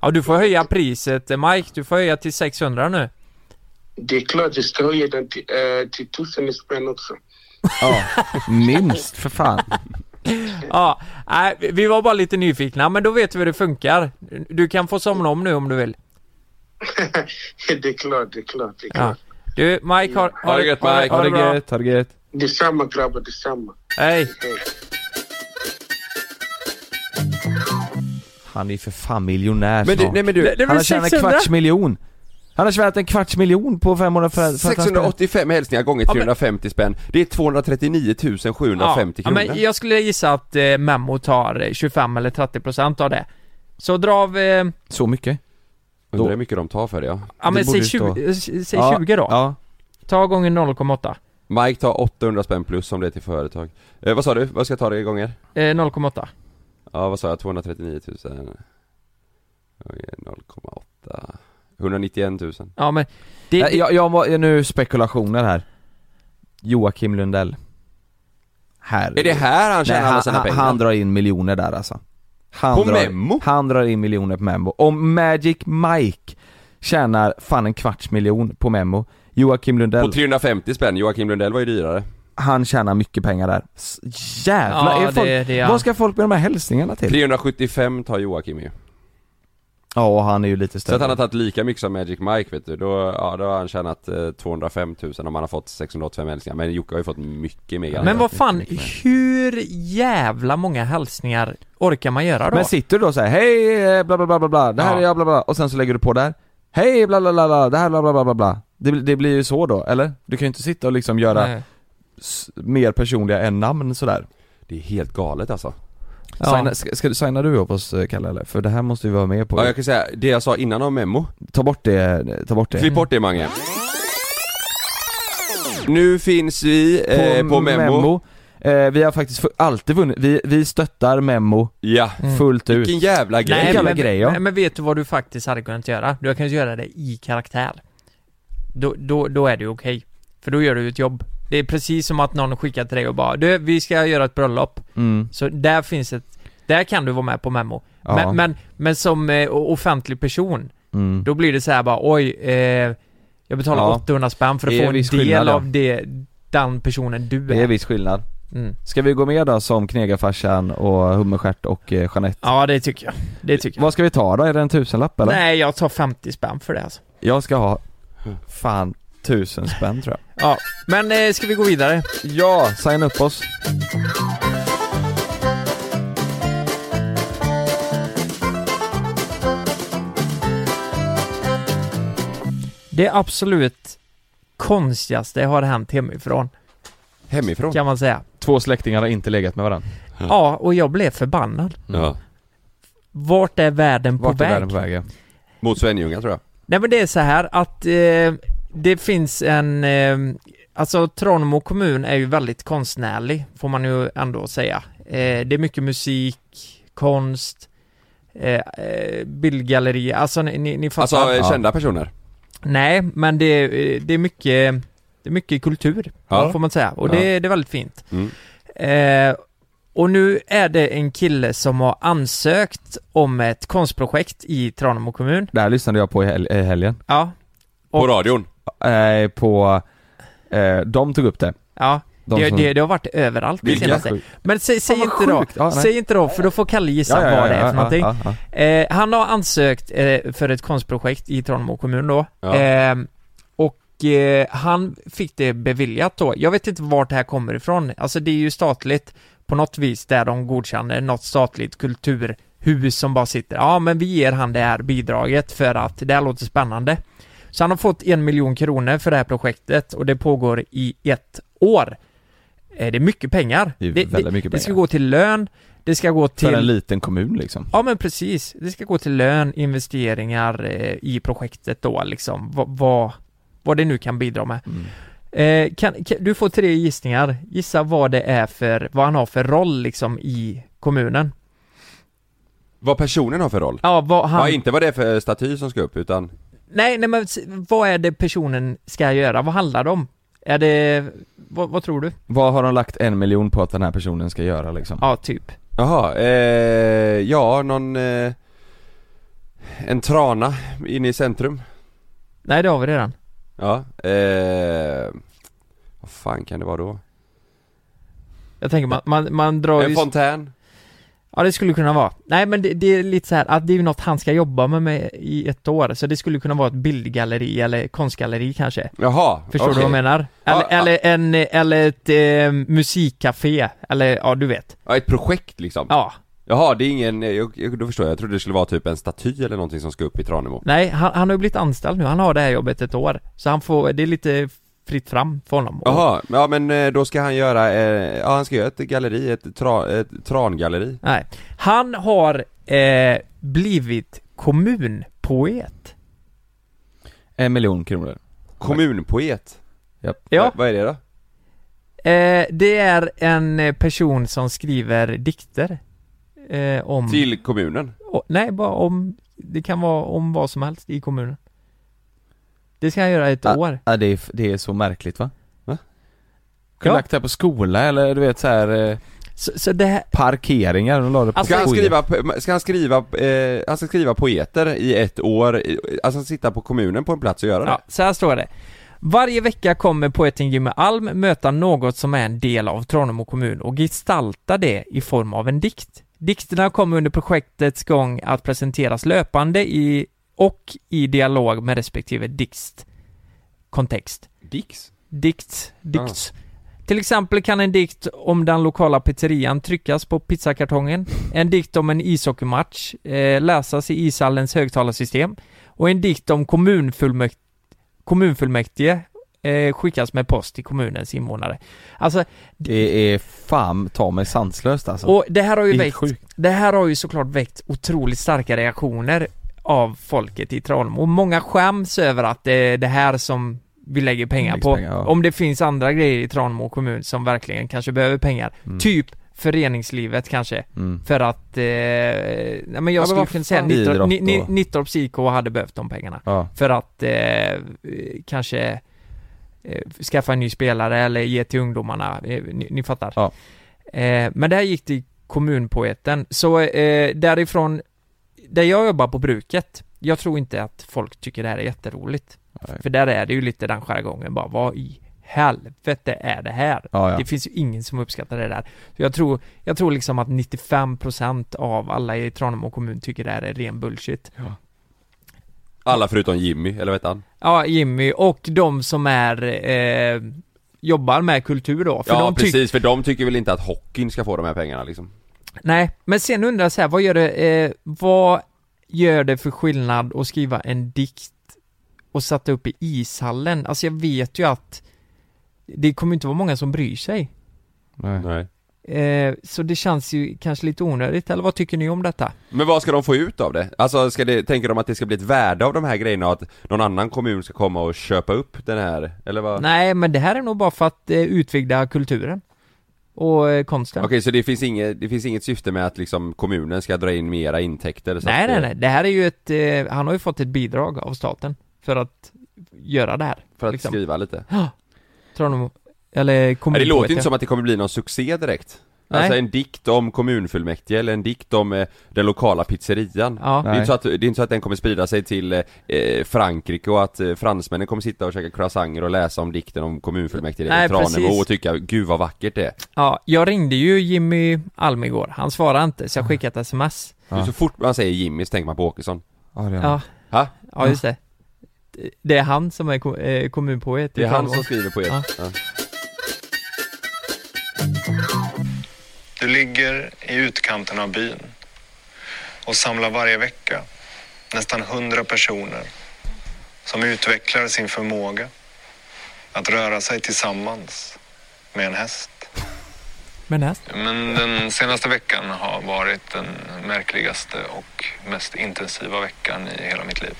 Ja du får höja priset eh, Mike, du får höja till 600 nu. Det är klart jag ska höja den till, eh, till tusen spänn också. Ja, minst för fan. Ja, nej, vi- vi var bara lite nyfikna men då vet vi hur det funkar. Du kan få somna om nu om du vill. det är klart, det är klart. Det är Ja. klart. Du Mike, har, Ha det gött, Mike. Ha det bra. gött, ha det gött. Detsamma grabbar, detsamma. Hej! Hej. Han är ju för fan miljonär Men du, snart. nej men du Det- det Han blir har tjänat en 600. kvarts miljon. Han har tjänat en kvarts miljon på fem månader för, för att han spelar. 685 hälsningar gånger Ja, men- 350 spänn Det är 239 750 ja, kronor men jag skulle gissa att eh, Memmo tar eh, 25 eller 30 procent av det. Så dra av, eh, Så mycket? Undrar hur mycket de tar för det ja ja men Det säg 20, borde stå. eh, säg Ja, 20 då. Ja. Ta gånger 0,8. Mike tar 800 spänn plus om det är till företag eh, Vad sa du? Vad ska jag ta det i gånger? Eh, 0,8. Ja vad sa jag? 239 000 Okej, 0,8 191 000 Ja men, det, Nej, Jag, jag må, nu spekulationer här. Joakim Lundell. Här. Är det här han tjänar Nej, alla han, sina han, pengar? han drar in miljoner där alltså. Han På drar, Memmo? Han drar in miljoner på Memmo. Om Magic Mike tjänar fan en kvarts miljon på Memmo, Joakim På Lundell, 350 spänn, Joakim Lundell var ju dyrare han tjänar mycket pengar där. S- Jävlar, Ja, är folk, det- det är han. vad ska folk med de här hälsningarna till? 375 tar Joakim ju Ja, och han är ju lite Så större. att han har tagit lika mycket som Magic Mike vet du, då, ja, då har han tjänat eh, 205 000 om han har fått 685 hälsningar Men Jocke har ju fått mycket mer men vad fan, hur jävla många hälsningar orkar man göra då? Men sitter du då såhär, hej eh, bla bla bla bla bla, det här Ja. är jag bla bla, och sen så lägger du på där, hej bla bla bla bla, det här bla bla bla bla bla. Det, blir- det blir ju så då, eller? Du kan ju inte sitta och liksom göra Nej. s- mer personliga än namn sådär. Det är helt galet alltså Ja. Signa, ska, ska, du- signar du upp oss eh, Kalle eller? För det här måste vi vara med på. Ja jag kan säga, det jag sa innan om Memmo Ta bort det, eh, ta bort det. Klipp bort det Mange Nu finns vi eh, på, Memmo. Eh, vi har faktiskt fu- alltid vunnit, vi, vi stöttar Memmo Ja, fullt ut. vilken jävla grej! Nej, jävla men, grej, ja. nej men vet du vad du faktiskt hade kunnat göra? Du kan ju göra det i karaktär. Då, då, då är det ju okej. För då gör du ju ett jobb. Det är precis som att någon skickar till dig och bara du, vi ska göra ett bröllop. Mm. Så där finns ett, där kan du vara med på Memmo. Ja. Men, men, men som eh, o- offentlig person, Mm. då blir det så här bara oj, eh, jag betalar Ja. 800 spänn för att Det få är en del en viss skillnad, ja. av det, den personen du Det är. är viss skillnad. Mm. Ska vi gå med då som Knegarfarsan och Hummerstjärt och eh, Jeanette? Ja, det tycker jag. Det tycker jag. Vad ska vi ta då? Är det en tusenlapp eller? Nej, jag tar 50 spänn för det alltså. Jag ska ha, Mm. fan, tusen spänn tror jag Ja, men eh, ska vi gå vidare? Ja, signa upp oss Det absolut konstigaste har hänt hemifrån, Hemifrån? kan man säga. Två släktingar har inte legat med varandra Ja, och jag blev förbannad. Ja. Vart är världen på Vart är väg? världen på väg? ja? Mot Svenljunga tror jag. Nej men det är så här att eh, det finns en, eh, alltså Tranemo kommun är ju väldigt konstnärlig, får man ju ändå säga. Eh, det är mycket musik, konst, eh, eh, bildgallerier, alltså ni, ni, ni Alltså fattar. eh, Ja. kända personer? Nej, men det, eh, det är mycket, det är mycket kultur, Ja. får man säga, och Ja. det, det är väldigt fint. Mm. Eh, och nu är det en kille som har ansökt om ett konstprojekt i Tranemo kommun. Det här lyssnade jag på i, hel- i helgen Ja, På radion? eh, På, eh, de tog upp det ja. de det, som- det, det har varit överallt det Vilka? senaste. Men säg, säg Fan, inte vad då, sjukt. Ja, nej. säg inte då för då får Kalle gissa vad det är för någonting. ja, ja. Eh, han har ansökt eh, för ett konstprojekt i Tranemo kommun då. Ja. Eh, och eh, han fick det beviljat då. Jag vet inte vart det här kommer ifrån. Alltså det är ju statligt på något vis där de godkänner något statligt kulturhus som bara sitter. Ja men vi ger han det här bidraget för att det här låter spännande. Så han har fått en miljon kronor för det här projektet och det pågår i ett år. Eh, det är mycket pengar. Det är väldigt mycket det ska pengar. gå till lön, det ska gå För en till liten kommun liksom Ja men precis, det ska gå till lön, investeringar eh, i projektet då liksom, vad, vad, vad det nu kan bidra med. Mm. Eh, kan, kan, du får tre gissningar, gissa vad det är för, vad han har för roll liksom i kommunen. Vad personen har för roll? Ja, vad han, Ja, inte vad det är för staty som ska upp utan... nej, nej men s- vad är det personen ska göra, vad handlar det om? Är det, vad, vad tror du? Vad har de lagt en miljon på att den här personen ska göra liksom? Ja, typ. Jaha, eh, ja någon... Eh, en trana inne i centrum. Nej det har vi redan. Ja, eh, Vad fan kan det vara då? Jag tänker man, man, man drar En ju... fontän? Ja det skulle kunna vara. Nej men det, det är lite så här att det är ju något han ska jobba med, med i ett år, så det skulle kunna vara ett bildgalleri eller konstgalleri kanske. Jaha, Förstår du okej. vad jag menar? Eller, Ja, ja. eller, en, eller ett eh, musikcafé, eller ja du vet. Ja, ett projekt liksom? Ja. Jaha, det är ingen, jag, jag, då förstår jag, jag trodde det skulle vara typ en staty eller någonting som ska upp i Tranemo Nej, han, han har ju blivit anställd nu, han har det här jobbet ett år. Så han får, det är lite fritt fram för honom. Och- Jaha, ja men eh, då ska han göra, eh, ja han ska göra ett galleri, ett, tra, ett trangalleri Nej. Han har eh, blivit kommunpoet. En miljon kronor Kommunpoet? Japp. Ja. Va- Vad är det då? Eh, det är en eh, person som skriver dikter. Eh, om... Till kommunen? Och- Nej, bara om, det kan vara om vad som helst i kommunen. Det ska jag göra i ett år. Ja, det, är, f- det är så märkligt va? Va? Kunde Ja. lagt det här på skola eller du vet så här eh, Så, så det här, parkeringar, de la det på Alltså, Ska han skolan. skriva, po- ska han skriva, eh, han ska skriva poeter i ett år, i- alltså han sitta på kommunen på en plats och göra det? ja, så här står det. Varje vecka kommer poeten Jimmy Alm möta något som är en del av Tranemo kommun och gestalta det i form av en dikt. Dikterna kommer under projektets gång att presenteras löpande i, och i dialog med respektive dikt kontext. Dix? Dikt, dikts. Till exempel kan en dikt om den lokala pizzerian tryckas på pizzakartongen, en dikt om en ishockeymatch eh, läsas i ishallens högtalarsystem och en dikt om kommunfullmäkt- kommunfullmäktige eh, skickas med post till kommunens invånare. Alltså, Det är fan ta mig sanslöst alltså och det här har ju Helt väckt, sjukt. det här har ju såklart väckt otroligt starka reaktioner av folket i Tranemo. Många skäms över att det är det här som vi lägger pengar Läggs på. pengar, ja. Om det finns andra grejer i Tranemo kommun som verkligen kanske behöver pengar. Typ föreningslivet kanske. Mm. För att, eh, nej men jag men skulle vad kunna säga fan, Nittorp, idrott Ni- Ni- och- Nittorps IK hade behövt de pengarna. Ja, För att eh, eh, kanske eh, skaffa en ny spelare eller ge till ungdomarna, eh, ni, ni fattar. Ja. Eh, men där gick det i kommunpoeten. Så eh, därifrån, där jag jobbar på bruket, jag tror inte att folk tycker det här är jätteroligt. Nej. För där är det ju lite den jargongen bara, vad i helvete är det här? Ja, ja. Det finns ju ingen som uppskattar det där. Så jag tror, jag tror liksom att 95% av alla i Tranemo kommun tycker det här är ren bullshit. Alla förutom Jimmy, eller vad heter han? Ja, Jimmy och de som är, eh, jobbar med kultur då. För ja de tycker precis, för de tycker väl inte att hockeyn ska få de här pengarna liksom Nej, men sen undrar jag så här, vad gör det, eh, vad gör det för skillnad att skriva en dikt och sätta upp i ishallen? Alltså jag vet ju att det kommer inte vara många som bryr sig. Nej. Nej Eh, så det känns ju kanske lite onödigt, eller vad tycker ni om detta? Men vad ska de få ut av det? Alltså ska det, tänker de att det ska bli ett värde av de här grejerna och att någon annan kommun ska komma och köpa upp den här, eller vad? Nej, men det här är nog bara för att eh, utvidga kulturen och eh, konsten. Okej, så det finns, inget, det finns inget syfte med att liksom kommunen ska dra in mera intäkter? Så nej, att, nej, eh, nej, det här är ju ett, eh, han har ju fått ett bidrag av staten för att göra det här. För att liksom. skriva lite? Tror de, eller Nej, det låter kommunfullmäktige. inte som att det kommer bli någon succé direkt Nej. Alltså en dikt om kommunfullmäktige eller en dikt om eh, den lokala pizzerian Ja. det, är Nej. inte så att, det är inte så att den kommer sprida sig till eh, eh, Frankrike och att eh, fransmännen kommer sitta och käka croissanter och läsa om dikten om kommunfullmäktige Nej, i Tranemo precis. och tycka 'Gud vad vackert det är' Ja, jag ringde ju Jimmy Alm igår. Han svarade inte, så jag skickade ett sms. För Så fort man säger Jimmy så tänker man på Åkesson Ja, det är han. Ja, Ha? ja just det. Det är han som är ko- eh, kommunpoet. Det är han Utan- som skriver på er Ja. ja. Du ligger i utkanten av byn och samlar varje vecka nästan 100 personer som utvecklar sin förmåga att röra sig tillsammans med en häst. Men näst. Men den senaste veckan har varit den märkligaste och mest intensiva veckan i hela mitt liv.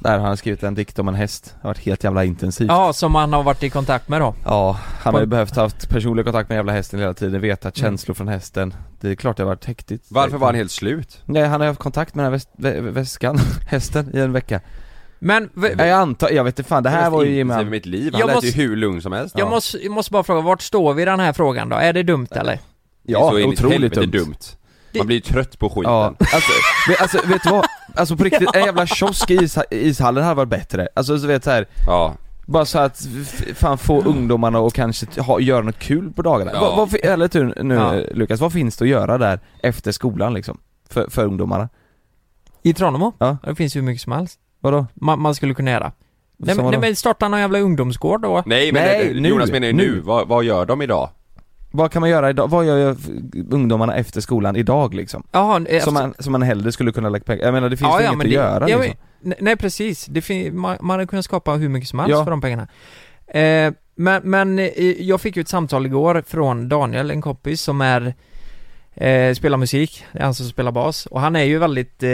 Där har han skrivit en dikt om en häst, det har varit helt jävla intensivt Ja, som han har varit i kontakt med då. Ja, han har ju behövt haft personlig kontakt med jävla hästen hela tiden, vetat Mm. känslor från hästen Det är klart det har varit häktigt Varför var han helt slut? Nej han har ju haft kontakt med den här väs- vä- väskan, hästen, i en vecka Äh, Men, v- Nej, Jag antar, jag vet inte fan, det här mest var ju Jimmy intensiva i Alm. mitt liv, han Jag lät måste- ju hur lugn som helst jag måste, jag måste bara fråga, vart står vi i den här frågan då? Är det dumt eller? Ja, så in i ett otroligt helvete dumt, Man blir ju trött på skiten Ja, alltså, men, alltså vet du vad? Alltså på riktigt, en jävla kiosk i is, ishallen hade varit bättre Alltså så vet så här, ja. bara så att f- fan få ungdomarna och kanske t- ha, göra något kul på dagarna Ja. vad, vad, fi- Ärligt nu, nu Ja. Lukas, vad finns det att göra där efter skolan liksom? För, för ungdomarna? I Tranemo? Ja. Det finns ju hur mycket som helst. Vadå? Man, man skulle kunna göra. Nej, men- vadå? nej men starta någon jävla ungdomsgård då. Nej men Nej, det, nu, Jonas menar ju nu, nu. Vad, vad gör de idag? Vad kan man göra idag? Vad gör jag f- ungdomarna efter skolan idag liksom? Jaha, eh, Som man, som man hellre skulle kunna lägga pengar, jag menar det finns ju inget att göra ja, men- liksom. ne- Nej precis, det fin- man, man hade kunnat skapa hur mycket som helst Ja. för de pengarna. Eh, men men eh, jag fick ju ett samtal igår från Daniel, en kompis som är eh, spelar musik, det är han som spelar bas och han är ju väldigt eh,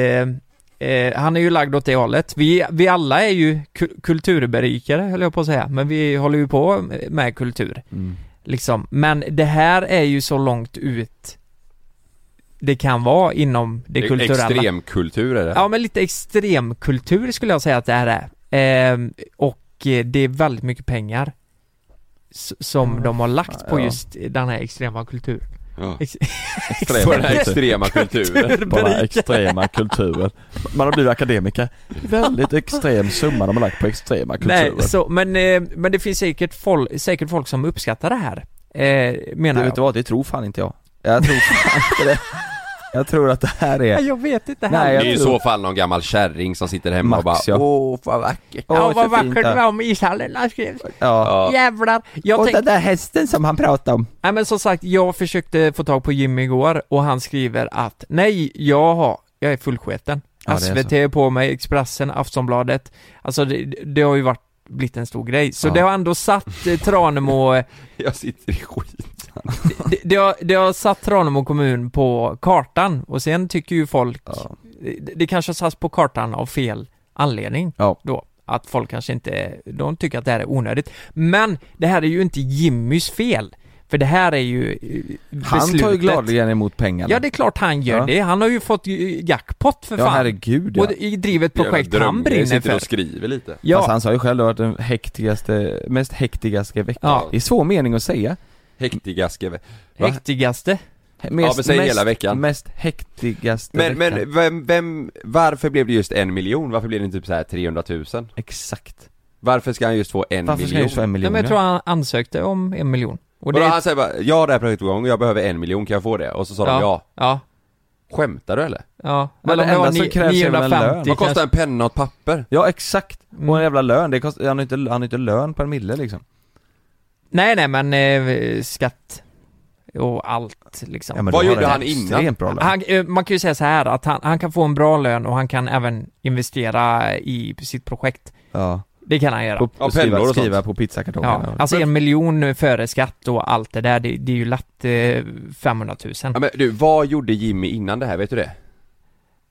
eh, han är ju lagd åt det hållet. Vi, vi alla är ju ku- kulturberikare höll jag på att säga, men vi håller ju på med kultur. Mm. Liksom. Men det här är ju så långt ut det kan vara inom det kulturella. Extremkultur är det. Ja, men lite extremkultur skulle jag säga att det här är. Ehm, och eh, det är väldigt mycket pengar s- som Mm. de har lagt på ja. just den här extrema kulturen. Ja. Ex- På den här extrema kulturen. Bara Berika. extrema kulturer. Man har blivit akademiker. Väldigt extrem summa de har lagt på extrema Nej, kulturer. så, men, eh, men det finns säkert folk, säkert folk som uppskattar det här. Eh, det, menar vet jag. du vad, det tror fan inte jag. Jag tror fan inte det. Jag tror att det här är... Nej, jag vet inte Nej, heller. jag Det är i tror- så fall någon gammal kärring som sitter hemma och bara Max, ja. Åh, vad vackert. Åh, Ja, så vad vackert fint det här. var om ishallen han skrev. Ja. Ja. Jävlar! Jag Och tänk- den där hästen som han pratade om. Nej men som sagt, jag försökte få tag på Jimmy igår och han skriver att nej, jag har, jag är fullsketen. Ja, det är SVT är på mig, Expressen, Aftonbladet. Alltså det, det har ju varit blivit en stor grej. Så Ja. det har ändå satt eh, Tranemo, det, Jag sitter i skit. det, har, det har satt Tranemo kommun på kartan och sen tycker ju folk, Ja. det, det kanske har satts på kartan av fel anledning Ja. då. Att folk kanske inte, de tycker att det här är onödigt. Men det här är ju inte Jimmys fel. För det här är ju eh, Han tar ju beslutet. gladeligen emot pengarna. Ja, det är klart han gör Ja. det. Han har ju fått ju jäckpott för Ja, fan. herregud Och ja. det- i drivet projekt han brinner sitter för. och skriver lite. Fast Ja, han sa ju själv att det har varit den hektigaste, mest hektigaste veckan. Ja. Det är svår mening att säga. Hektigaske. Va? häktigaste. Mest, men säg hela veckan. Mest hektigaste Men, veckan. men vem, vem, varför blev det just en miljon? Varför blev det inte typ så här 300 000? Exakt. Varför ska han just få en Varför ska jag miljon? just få en Nej, miljon? men jag ja? tror han ansökte om en miljon. Och Vadå, han säger bara, jag har det här projektet igång, jag behöver en miljon, kan jag få det? Och så sa de ja. Ja. Skämtar du eller? Ja. Men Eller det om det var enda som ni- krävs är väl en lön? 950 Vad kostar en penna och ett papper? Ja exakt, Mm. och en jävla lön, det kostar, han har inte, han har inte lön per mille liksom Nej, nej, men eh, skatt och allt liksom. ja, men Vad då har gjorde en han innan? Extremt bra lön han, eh, man kan ju säga så här att han, han kan få en bra lön och han kan även investera i sitt projekt. Ja, Det kan han göra. på, Ja, pennor och skriva, sånt. skriva på pizzakartongerna Ja, alltså en miljon före skatt och allt det där, det, det är ju lätt eh, 500 000. Ja, men du, vad gjorde Jimmy innan det här? Vet du det?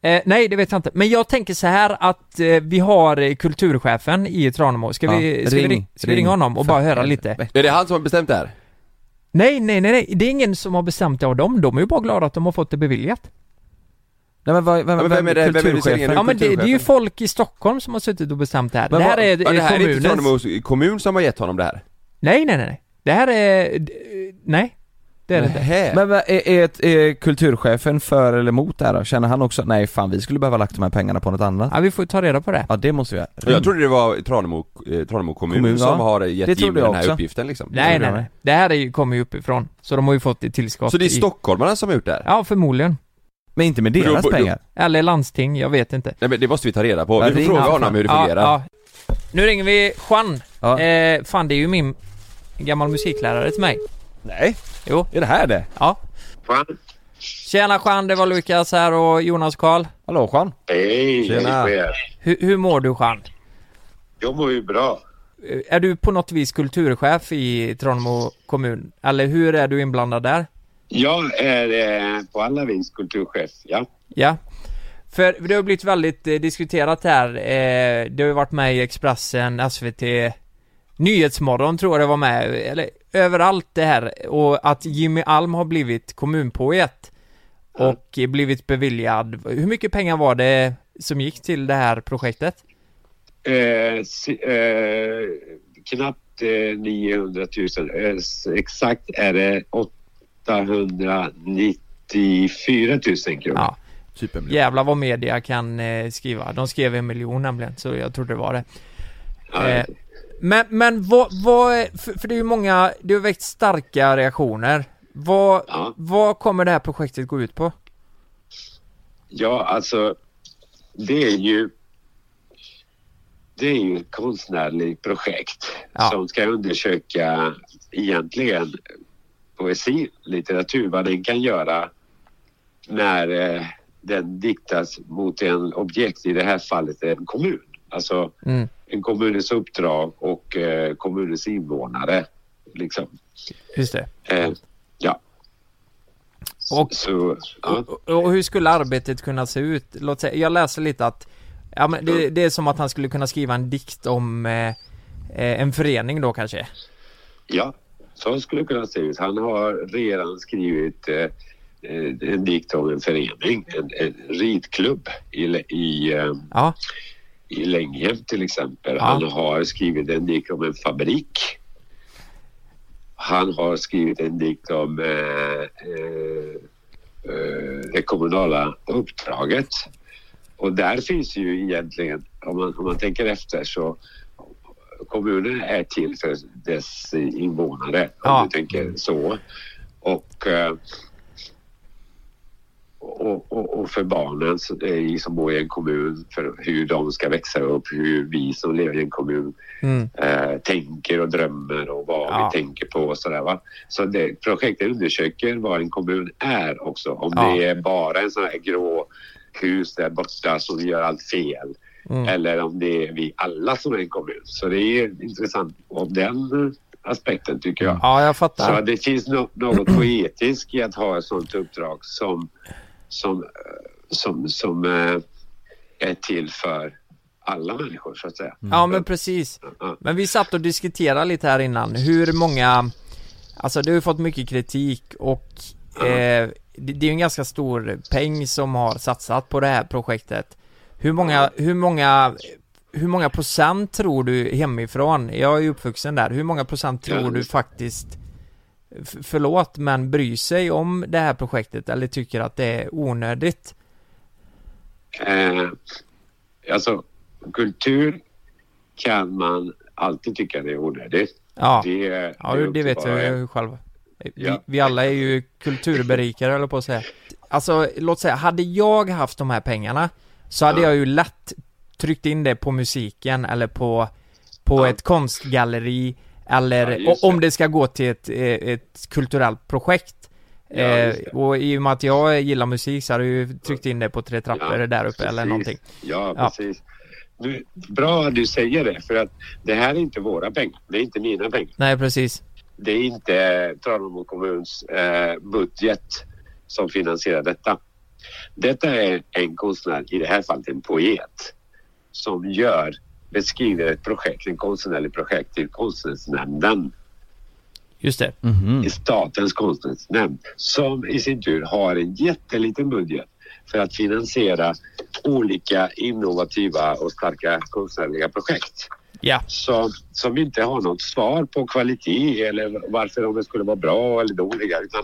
Eh, nej, det vet jag inte. Men jag tänker så här att eh, vi har eh, kulturchefen i Tranemo. Ska, Ja, vi, ska, vi, ring, ring, ska vi ring. ringa honom och Fan, bara höra lite? Är det han som har bestämt det här? Nej, nej, nej, nej. Det är ingen som har bestämt det av dem. De är ju bara glada att de har fått det beviljat. Nej men vad, vem, men vem, vem är det- vem är det som ringer nu? kulturchefen? Ja, men det, det är ju folk i Stockholm som har suttit och bestämt det här. Men det här vad- är, Ja, det är här är inte kommunens... Tranemos kommun som har gett honom det här? Nej, nej, nej, nej. Det här är... d- eh, Nej, det är det inte. Nähä. Men vad- är, är, ett- är kulturchefen för eller emot det här då? Känner han också, nej fan vi skulle behöva lagt de här pengarna på något annat? Ja, vi får ta reda på det. Ja det måste vi göra Jag trodde det var Tranemo, eh, Tranemo kommun, Kommun, som ja. har Det gett trodde Jimmy jag den här också. uppgiften liksom. Nej, det nej, var nej. Det här är ju, kommer ju uppifrån. Så de har ju fått ett tillskott Så det är i- stockholmarna som har gjort det här? Ja, förmodligen. Men inte med Men då- deras då- pengar? Eller landsting, jag vet inte. Nej men det måste vi ta reda på, Ja, vi får ring fråga han, honom fan. hur det Ja, fungerar ja. Nu ringer vi Juan. Ja. Eh, fan, det är ju min gammal musiklärare till mig. Nej? Jo. Är det här det? Ja. Fan. Tjena Juan, det var Lukas här och Jonas Karl. Hallå Jean? Hej, Tjena. hej chef. Hur- hur mår du Juan? Jag mår ju bra. Eh, Är du på något vis kulturchef i Tranemo kommun? Eller hur är du inblandad där? Jag är eh, på alla vis kulturchef. Ja. Ja. För det har blivit väldigt eh, diskuterat här. Eh, det har ju varit med i Expressen, SVT, Nyhetsmorgon tror jag det var med. Eller överallt det här. Och att Jimmy Alm har blivit kommunpoet. Och eh, blivit beviljad. Hur mycket pengar var det som gick till det här projektet? Eh, si, eh, knappt eh, 900 000. Eh, s- exakt är det 894 000 kronor. Ja. Typ en Jävlar vad media kan eh, skriva. De skrev en miljon nämligen, så jag trodde det var det. Ja, Eh, men men vad, vad är- för, för det är ju många, det har väckt starka reaktioner. Vad, Ja. vad kommer det här projektet gå ut på? Ja, alltså det är ju det är ju ett konstnärligt projekt Ja. som ska undersöka egentligen poesi, litteratur, vad den kan göra när eh, den diktas mot en objekt, i det här fallet en kommun. Alltså Mm. en kommunens uppdrag och eh, kommunens invånare. Liksom. Just det. Eh, ja. Och- Så, ja. Och, och hur skulle arbetet kunna se ut? Låt säga, jag läser lite att ja, men det, det är som att han skulle kunna skriva en dikt om eh, eh, en förening då kanske? Ja, så skulle det kunna se ut. Han har redan skrivit eh, eh, en dikt om en förening, en, en ridklubb i, Lä- i, eh, Ja, i Länghem till exempel. Han har skrivit en dikt om en fabrik. Han har skrivit en dikt om eh, eh, eh, det kommunala uppdraget. Och där finns ju egentligen, om man, om man tänker efter så kommunen är till för dess invånare, Ja. om du tänker så. Och, eh, och, och, och för barnen så- eh, som bor i en kommun, för hur de ska växa upp, hur vi som lever i en kommun mm. eh, tänker och drömmer och vad Ja. vi tänker på och sådär. Va? Så det, projektet undersöker vad en kommun är också. Om Ja. det är bara en sån här grå hus där borta som gör allt fel. Mm. Eller om det är vi alla som är en kommun. Så det är intressant om den eh, aspekten tycker jag. ja jag Så fattar. det finns no- något poetiskt i att ha ett sådant uppdrag som, som, eh, som, som eh, är till för alla människor så att säga. Mm. Ja men precis. Ja. Men vi satt och diskuterade lite här innan, hur många Alltså det har ju fått mycket kritik och eh, det, det är ju en ganska stor peng som har satsat på det här projektet Hur många, hur många Hur många procent tror du hemifrån? Jag är ju uppvuxen där, hur många procent tror du faktiskt f- Förlåt men bryr sig om det här projektet eller tycker att det är onödigt? Eh, alltså, kultur kan man alltid tycka det är onödigt. Ja, Det, är- ja det är det, upp till vet var och en. jag själv. Vi, Ja. vi alla är ju kulturberikare eller på att säga. Alltså, låt säga, hade jag haft de här pengarna så hade Ja. jag ju lätt tryckt in det på musiken eller på, på Ja. ett konstgalleri eller Ja, just o- om det. det ska gå till ett, eh, ett kulturellt projekt. Ja, eh, just det. och i och med att jag gillar musik så hade jag ju tryckt in det på Tre trappor där uppe eller precis. någonting. Ja, Ja. precis. Du, bra att du säger det, för att det här är inte våra pengar. Det är inte mina pengar. Nej, precis. Det är inte Tranemo kommuns eh, budget som finansierar detta. Detta är en konstnär, i det här fallet en poet, som gör, beskriver ett projekt, en konstnärlig projekt till konstnärsnämnden Just det. Mhm. Mm-hmm. i Statens konstnärsnämnd som i sin tur har en jätteliten budget för att finansiera olika innovativa och starka konstnärliga projekt Ja. som, som inte har något svar på kvalitet eller varför de skulle vara bra eller dåliga utan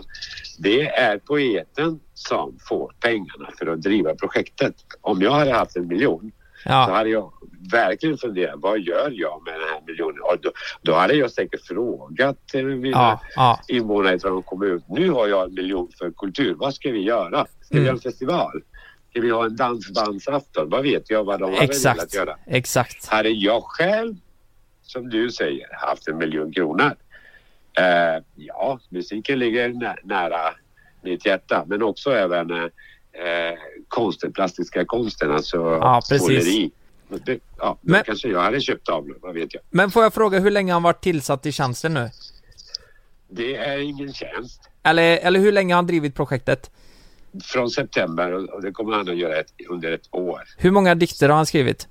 det är poeten som får pengarna för att driva projektet. Om jag hade haft en miljon så Ja. hade jag verkligen funderat, vad gör jag med den här miljonen? Och då, då hade jag säkert frågat eh, mina Ja. Ja. invånare från en kommun. Nu har jag en miljon för kultur. Vad ska vi göra? Ska vi Mm. ha en festival? Ska vi ha en dansbandsafton? Vad vet jag vad de hade velat Exakt. göra? Exakt. Hade jag själv, som du säger, haft en miljon kronor? Eh, ja, musiken ligger nä- nära mitt hjärta, men också även eh, eh, konsten, plastiska konsten, alltså Ja, precis. måleri. Det- Ja, då Men- kanske jag hade köpt tavlor, vad vet jag. Men får jag fråga hur länge har han varit tillsatt i tjänsten nu? Det är ingen tjänst. Eller, eller hur länge har han drivit projektet? Från september, och- och det kommer han att göra ett, under ett år. Hur många dikter har han skrivit?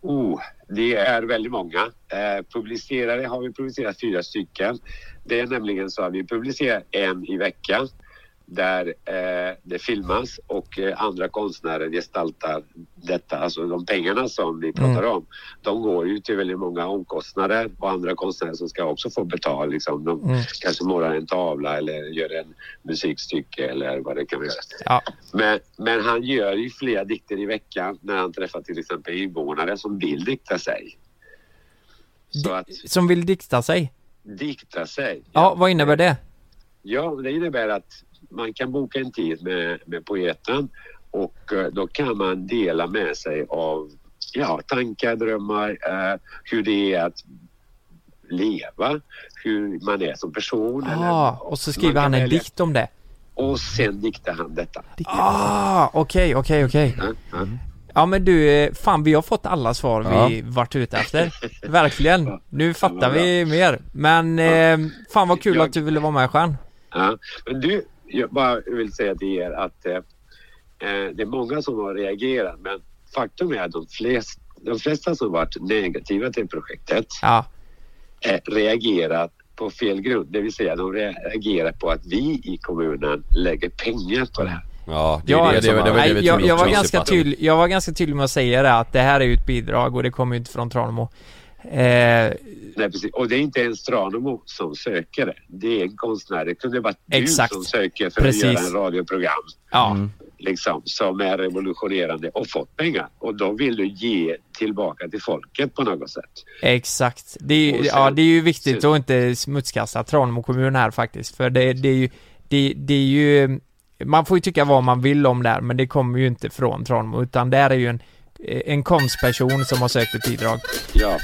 Oh, det är väldigt många. Eh, publicerade har vi publicerat fyra stycken. Det är nämligen så att vi publicerar en i veckan där eh, det filmas och eh, andra konstnärer gestaltar detta. Alltså de pengarna som vi pratar om, de går ju till väldigt många omkostnader och andra konstnärer som ska också få betalt. Liksom. De Mm. kanske målar en tavla eller gör en musikstycke eller vad det kan vara. Ja, Men, men han gör ju flera dikter i veckan när han träffar till exempel invånare som vill dikta sig. Så att som vill dikta sig. dikta sig, Ja, vad innebär det? ja det innebär att man kan boka en tid med, med poeten och eh, då kan man dela med sig av ja, tankar, drömmar, eh, hur det är att leva, hur man är som person. eller- Ah, och så skriver man kan han en välja. dikt om det. Och sen diktar han detta. Ah, okej, okej, okej. Ja, ja. Ja men du, eh, fan vi har fått alla svar vi varit ute efter. Verkligen. Nu fattar vi mer. Men eh, fan vad kul Jag- att du ville vara med Stjärn. Ja, men du, jag bara vill säga till er att eh, eh, det är många som har reagerat men faktum är att de, flest, de flesta som varit negativa till projektet Ja, eh, reagerat på fel grund. Det vill säga de reagerar på att vi i kommunen lägger pengar på det här. Ja, det är Ja, det, det som var- det var har- det vi nej, jag, trodde jag, var också. princip ganska att- tydlig, jag var ganska tydlig med att säga det att det här är ju ett bidrag och det kommer ju inte från Tranemo. Eh, Nej, precis. Och det är inte ens Tranemo som söker det. Det är en konstnär. Det kunde vara du Exakt. som söker för Precis. att göra en radioprogram. ja, liksom, som är revolutionerande och fått pengar. Och de vill du ge tillbaka till folket på något sätt. Exakt. Det är, ju- Och sen- ja, det är ju viktigt sen- att inte smutskasta Tranemo kommun här faktiskt. För det, det är ju, det, det är ju, man får ju tycka vad man vill om det här, men det kommer ju inte från Tranemo, utan det här är ju en, eh, en konstperson som har sökt ett bidrag. Ja,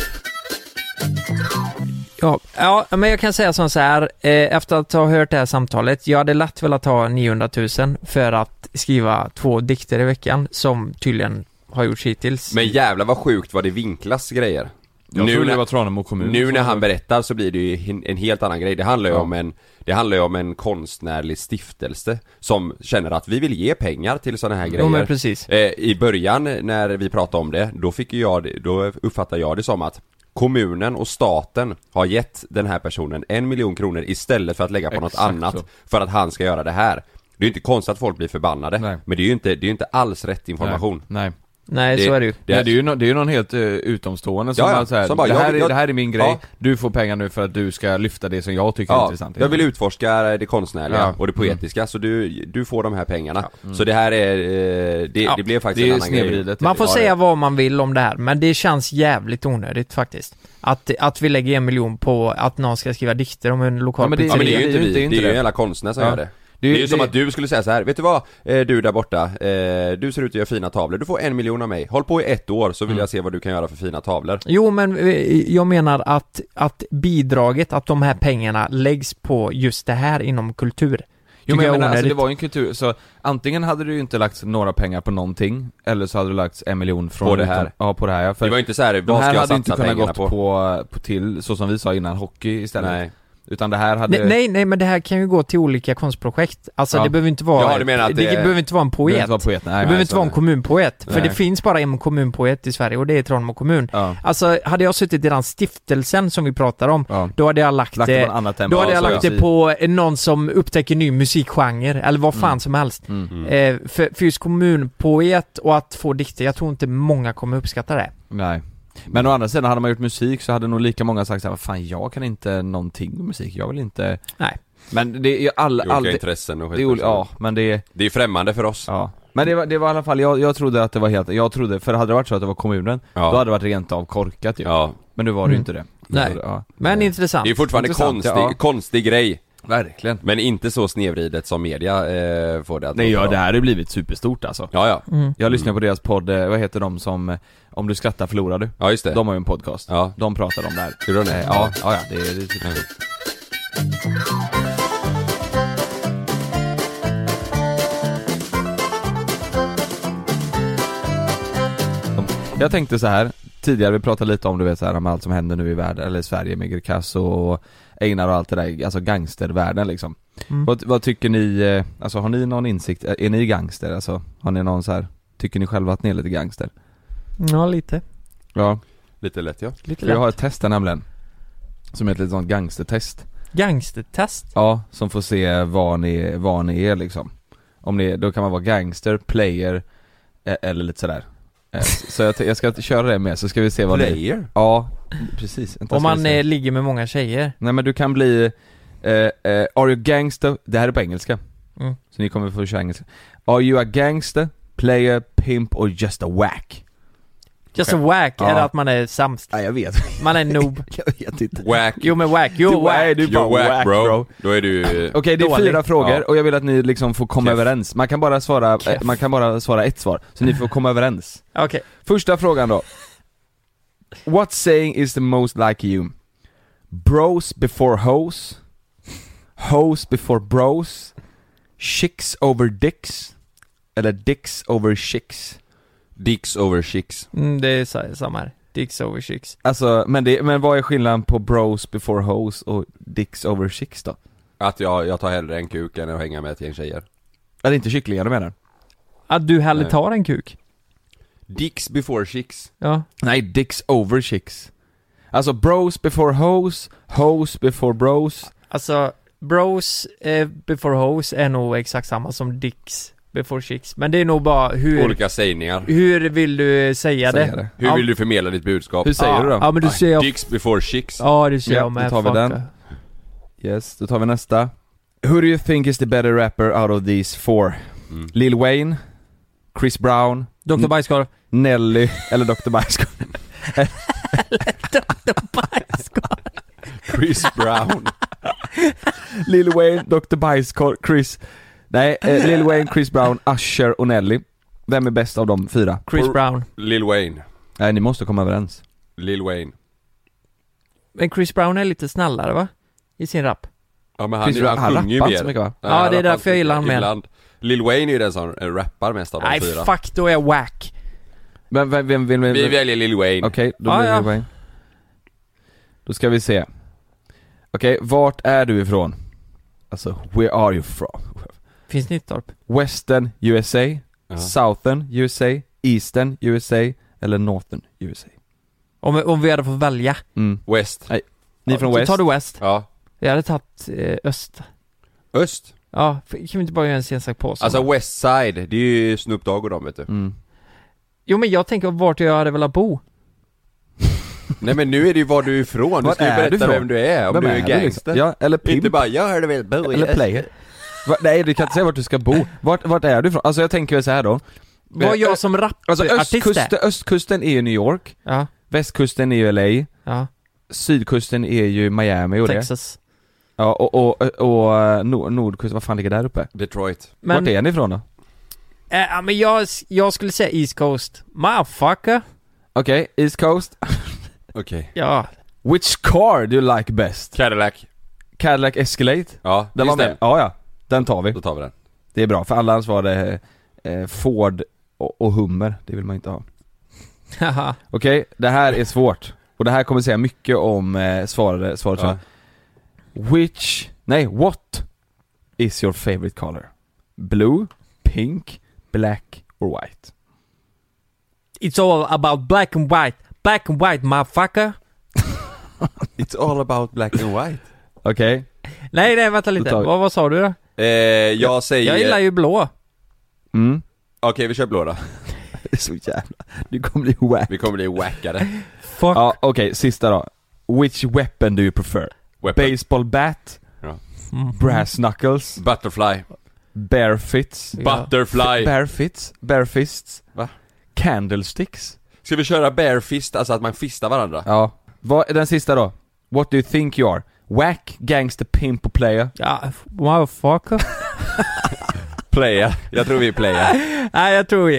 Ja, ja, men jag kan säga som så här, eh, efter att ha hört det här samtalet, jag hade lätt velat ha 900 000 för att skriva två dikter i veckan, som tydligen har gjorts hittills. Men jävlar vad sjukt vad det vinklas grejer. Jag Nu trodde när- det var Tranemo kommun Nu när han berättar så blir det ju en- en helt annan grej. Det handlar ju Ja. om en Det handlar ju om en konstnärlig stiftelse som känner att vi vill ge pengar till sådana här grejer. Jo, men precis. Eh, I början när vi pratade om det, då fick ju jag det- då uppfattade jag det som att kommunen och staten har gett den här personen en miljon kronor istället för att lägga på något Exakt annat så. för att han ska göra det här. Det är ju inte konstigt att folk blir förbannade, Nej. men det är ju inte, det är ju inte alls rätt information. Nej, nej. Nej, Det- så är det ju. det- Nej, det, är ju någon, det är ju någon helt eh, utomstående som, Ja, ja. bara så här, Som bara, det, jag här vill- är, det här är min grej, Ja. du får pengar nu för att du ska lyfta det som jag tycker är Ja, intressant jag vill utforska det konstnärliga Ja. Mm. och det poetiska, så du, du får de här pengarna. Så det här är, eh, det, Ja, det blev faktiskt Det en är annan grej. snedvridet Typ Man får Ja, säga vad man vill om det här, men det känns jävligt onödigt faktiskt. Att, att vi lägger en miljon på att någon ska skriva dikter om en lokal Ja, men det- Ja men det är ju Det inte är ju vi, inte- det är inte ju det. en jävla konstnär som Ja. gör det. Det Det är är ju- ju som det- att du skulle säga så här, vet du vad? Eh, Du där borta, eh, du ser ut att göra fina tavlor, du får en miljon av mig. Håll på i ett år så vill Mm. jag se vad du kan göra för fina tavlor. Jo, men eh, jag menar att, att bidraget, att de här pengarna läggs på just det här inom kultur. Jo Tycker men jag jag menar, är alltså, det onödigt. var ju en kultur, så antingen hade du ju inte lagt några pengar på någonting, eller så hade du lagt en miljon från På det här. Ja, på det här ja, för Det var ju inte så här, de vad här ska jag hade inte satsa kunnat pengarna gått på? på, på, till, så som vi sa innan, hockey istället Nej. Utan det här hade... Nej, nej, nej, men det här kan ju gå till olika konstprojekt. Alltså Ja. det behöver inte vara... Ja, du menar att det, det- behöver inte vara en det poet. behöver inte vara poet, nej, det nej, behöver inte så- vara en kommunpoet. För Nej. det finns bara en kommunpoet i Sverige och det är Tranemo kommun. Ja. Alltså, hade jag suttit i den stiftelsen som vi pratar om, Ja. då hade jag lagt, eh, Lagt det det... på en annat ämne. då hade Ja, jag så lagt ja. det på eh, någon som upptäcker ny musikgenre, eller vad fan Mm. som helst. Eh, för, för just kommunpoet och att få dikter, jag tror inte många kommer uppskatta det. Nej Men å andra sidan, hade man gjort musik så hade nog lika många sagt såhär, fan jag kan inte någonting med musik, jag vill inte Nej. Men det är ju all, Det är all, Olika det, intressen och det skit. är, ol- ja, men det är Det är ju främmande för oss. Ja. Men det var, det var i alla fall, jag, jag trodde att det var helt, jag trodde, för hade det varit så att det var kommunen, Ja. då hade det varit rent av korkat ju. Ja. Men nu var det ju inte det. Nej. Så, ja. Men intressant. Det är ju fortfarande Intressant, konstig, ja. konstig grej. Verkligen. Men inte så snedvridet som media eh, får det att Nej låta ja, då. det här har ju blivit superstort alltså. Ja, ja. Mm. Jag lyssnar på deras podd, eh, vad heter de som, eh, om du skrattar förlorar du? Ja, just det. De har ju en podcast. Ja. De pratar om det här. Gjorde de det? Eh, Ja, ja, ja det är, det är typ Jag tänkte så här tidigare vi pratade lite om du vet så här om allt som händer nu i världen, eller i Sverige med Greekazo och Einar och allt det där, alltså gangstervärlden liksom. Vad, vad tycker ni, eh, alltså har ni någon insikt, är ni gangster alltså? Har ni någon så här, tycker ni själva att ni är lite gangster? Ja, lite. Ja, Lite lätt ja. Lite för jag lätt. har ett test här nämligen. Som är ett litet sånt gangstertest. Gangstertest. Ja, som får se vad ni, vad ni är liksom. Om ni, då kan man vara gangster, player, eh, eller lite sådär. Eh, Så jag, t- jag ska köra det med, så ska vi se vad ni... Player? Ja, precis. Vänta, Om ska vi man se. eh, ligger med många tjejer. Nej men du kan bli, eh, eh, are you gangster, det här är på engelska. Mm. Så ni kommer få köra engelska. Are you a gangster, player, pimp or just a whack? Just a whack, Ja. är det att man är sämst? Nej jag vet Man är en noob. Jag vet inte. Whack. Jo men whack, jo Du- whack. nej, du är bara You're whack, bro. bro. Då är du... eh, Okej det är Dålig. fyra frågor Ja. och jag vill att ni liksom får komma Keff. överens. Man kan bara svara, eh, Keff. man kan bara svara ett svar. Så ni får komma överens. Okej. Första frågan då. What saying is the most like you? Bros before hoes? Hoes before bros? Chicks over dicks? Eller dicks over chicks? Dicks over chicks. Mm, det är sa- samma här. Dicks over chicks. Alltså, men, det, men vad är skillnaden på bros before hoes och dicks over chicks då? Att jag, jag tar hellre en kuk än att hänga med ett gäng tjejer. Är det inte kycklingar du menar? Att du hellre Nej. tar en kuk. Dicks before chicks. Ja. Nej, dicks over chicks. Alltså bros before hoes, hoes before bros. Alltså, bros eh, before hoes är nog exakt samma som dicks before chicks. Men det är nog bara hur, Olika sägningar. hur vill du säga, Säga det. det? Hur vill du förmedla ditt budskap? Hur säger ja. du då? Ja men du ser jag... Dicks before chicks. Ja det ser Ja, jag med. då tar vi Fuck den. det. Yes, då tar vi nästa. Who do you think is the better rapper out of these four? Mm. Lil Wayne, Chris Brown, Dr Bajskorv. Nelly eller Dr. Bajskorv? Chris Brown. Lil Wayne, Dr. Bajskorv, Chris... Nej, eh, Lil Wayne, Chris Brown, Usher och Nelly. Vem är bäst av de fyra? Chris Or- Brown. Lil Wayne. Nej, ni måste komma överens. Lil Wayne. Men Chris Brown är lite snällare va? I sin rap. Ja men han, Chris Brown, han, han sjunger ju rappar mer. inte så mycket, va? Ja, Ja, han det är rappar därför jag gillar honom mer. ibland. Lil Wayne är ju den som eh, rappar mest av de Nej fyra. fuck, då är jag whack. Vem, vem, vem, vem, vem, Vi väljer Lil Wayne. Okej, då Ah, blir det ja. poäng. Då ska vi se. Okej, vart är du ifrån? Alltså, where are you from? Finns Nittorp? Western USA, Ja. Southern USA, Eastern USA eller Northern USA? Om, om vi hade fått välja. Mm. West. Ni är från Så West? tar du West. Ja. Jag hade tagit eh, Öst. Öst. Ja, för- kan vi inte bara göra en sen sak på oss? Alltså West Side, det är ju Snoop Dogg och dem vet du. Mm. Jo men jag tänker vart jag hade velat bo. Nej men nu är det ju var du är ifrån, du Var ska ju är du berätta ifrån? vem du är, om Vem du är, liksom? gangster Ja, eller pimp. Inte bara 'jag hörde väl bo i Eller Öster." player. Va, nej du kan inte säga vart du ska bo. Vart, vart är du ifrån? Alltså jag tänker väl så här då. Vad jag som Alltså rapartist östkusten, är. östkusten är ju New York, Ja, västkusten är ju LA, ja. sydkusten är ju Miami och det. Texas. Ja, och, och, och, och nor- nordkusten, vad fan ligger där uppe? Detroit Men, Vart är ni ifrån då? eh, ja, men jag, jag skulle säga East Coast. Motherfucker. Okej, East Coast. Okej Ja. Which car do you like best? Cadillac Cadillac Escalade? Ja, Den var just med? det. Ja, ja. Den tar vi. Då tar vi den Det är bra, för alla annars var det eh, Ford och, och Hummer, det vill man inte ha. Haha. Okej, det här är svårt. Och det här kommer säga mycket om eh, svarade, svaret Ja. ja. Which, nej, what is your favorite color? Blue, pink, black or white? It's all about black and white. Black and white motherfucker. It's all about black and white Okej? Nej nej vänta lite. Då tar vi- Vad, vad sa du då? eh, Jag säger... Jag gillar ju blå. Mm. Okej vi kör blå då, Det är så jävla, du kommer bli wack. vi kommer bli wackade Fuck. Ja, okej, sista då. Which weapon do you prefer? Weapon. Baseball bat? Ja. Brass knuckles? Butterfly, Bare fits? butterfly Bare fits? Bare fists? Va? Candlesticks? Ska vi köra bare fist, alltså att man fistar varandra? Ja. Vad, den sista då. What do you think you are? Whack, gangster, pimp och player? Ja, f- motherfucker. Player, jag tror vi är player nej jag tror vi...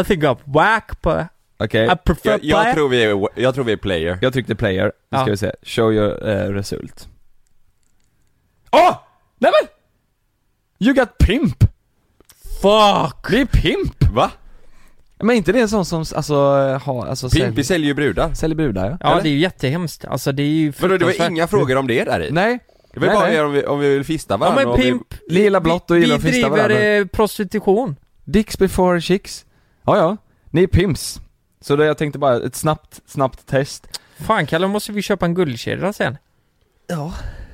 I think I'm whack but Okej. I prefer jag, black. jag, tror vi är, jag tror vi är player Jag tryckte player. Nu ska Ja. vi se. Show your eh, result. Åh! Oh! Nej men! You got pimp! Fuck! Det är pimp! Va? Men inte det en sån som alltså har, alltså Pimpi säljer ju brudar säljer brudar ja. Ja Eller? det är ju jättehemskt. Alltså det är ju Vadå det var fruktansvärt. inga frågor om det där i? Nej. Det var nej, bara nej. det om vi, om vi vill fista Ja varandra men om vi- pimp. Ni gillar blått och gillar att vi fista driver varandra. eh, prostitution. Dicks before chicks. Ja, ja. Ni är pimps. Så det, jag tänkte bara ett snabbt, snabbt test. Fan Kalle, måste vi köpa en guldkedja sen?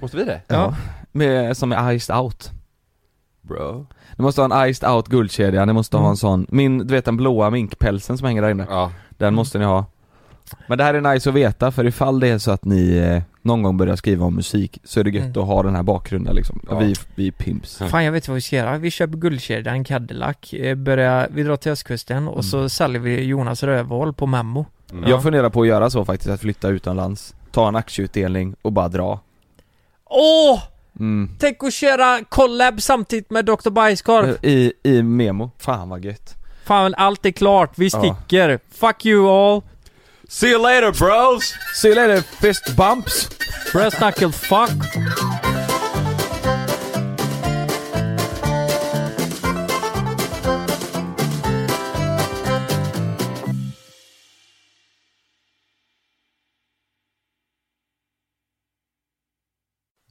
Måste vi det? Ja. Med, som är iced out. Bro Ni måste ha en iced out guldkedja, ni måste Mm. ha en sån, min, du vet den blåa minkpälsen som hänger där inne. Ja, Mm. Den måste ni ha. Men det här är nice att veta för ifall det är så att ni eh, någon gång börjar skriva om musik så är det gött Mm. att ha den här bakgrunden liksom. Ja. Vi, vi är pimps. Fan jag vet vad vi ska göra. Vi köper guldkedjan, Cadillac, eh, börjar, vi drar till östkusten och Mm. så säljer vi Jonas rövhål på Memmo. Jag funderar på att göra så faktiskt, att flytta utomlands, ta en aktieutdelning och bara dra. Åh! Mm. Tänk att köra collab samtidigt med Dr. Bajskorv. I, I Memo. Fan vad gött. Fan, allt är klart. Vi Ja. sticker. Fuck you all. See you later bros! See you later fist bumps! Breast knuckle fuck.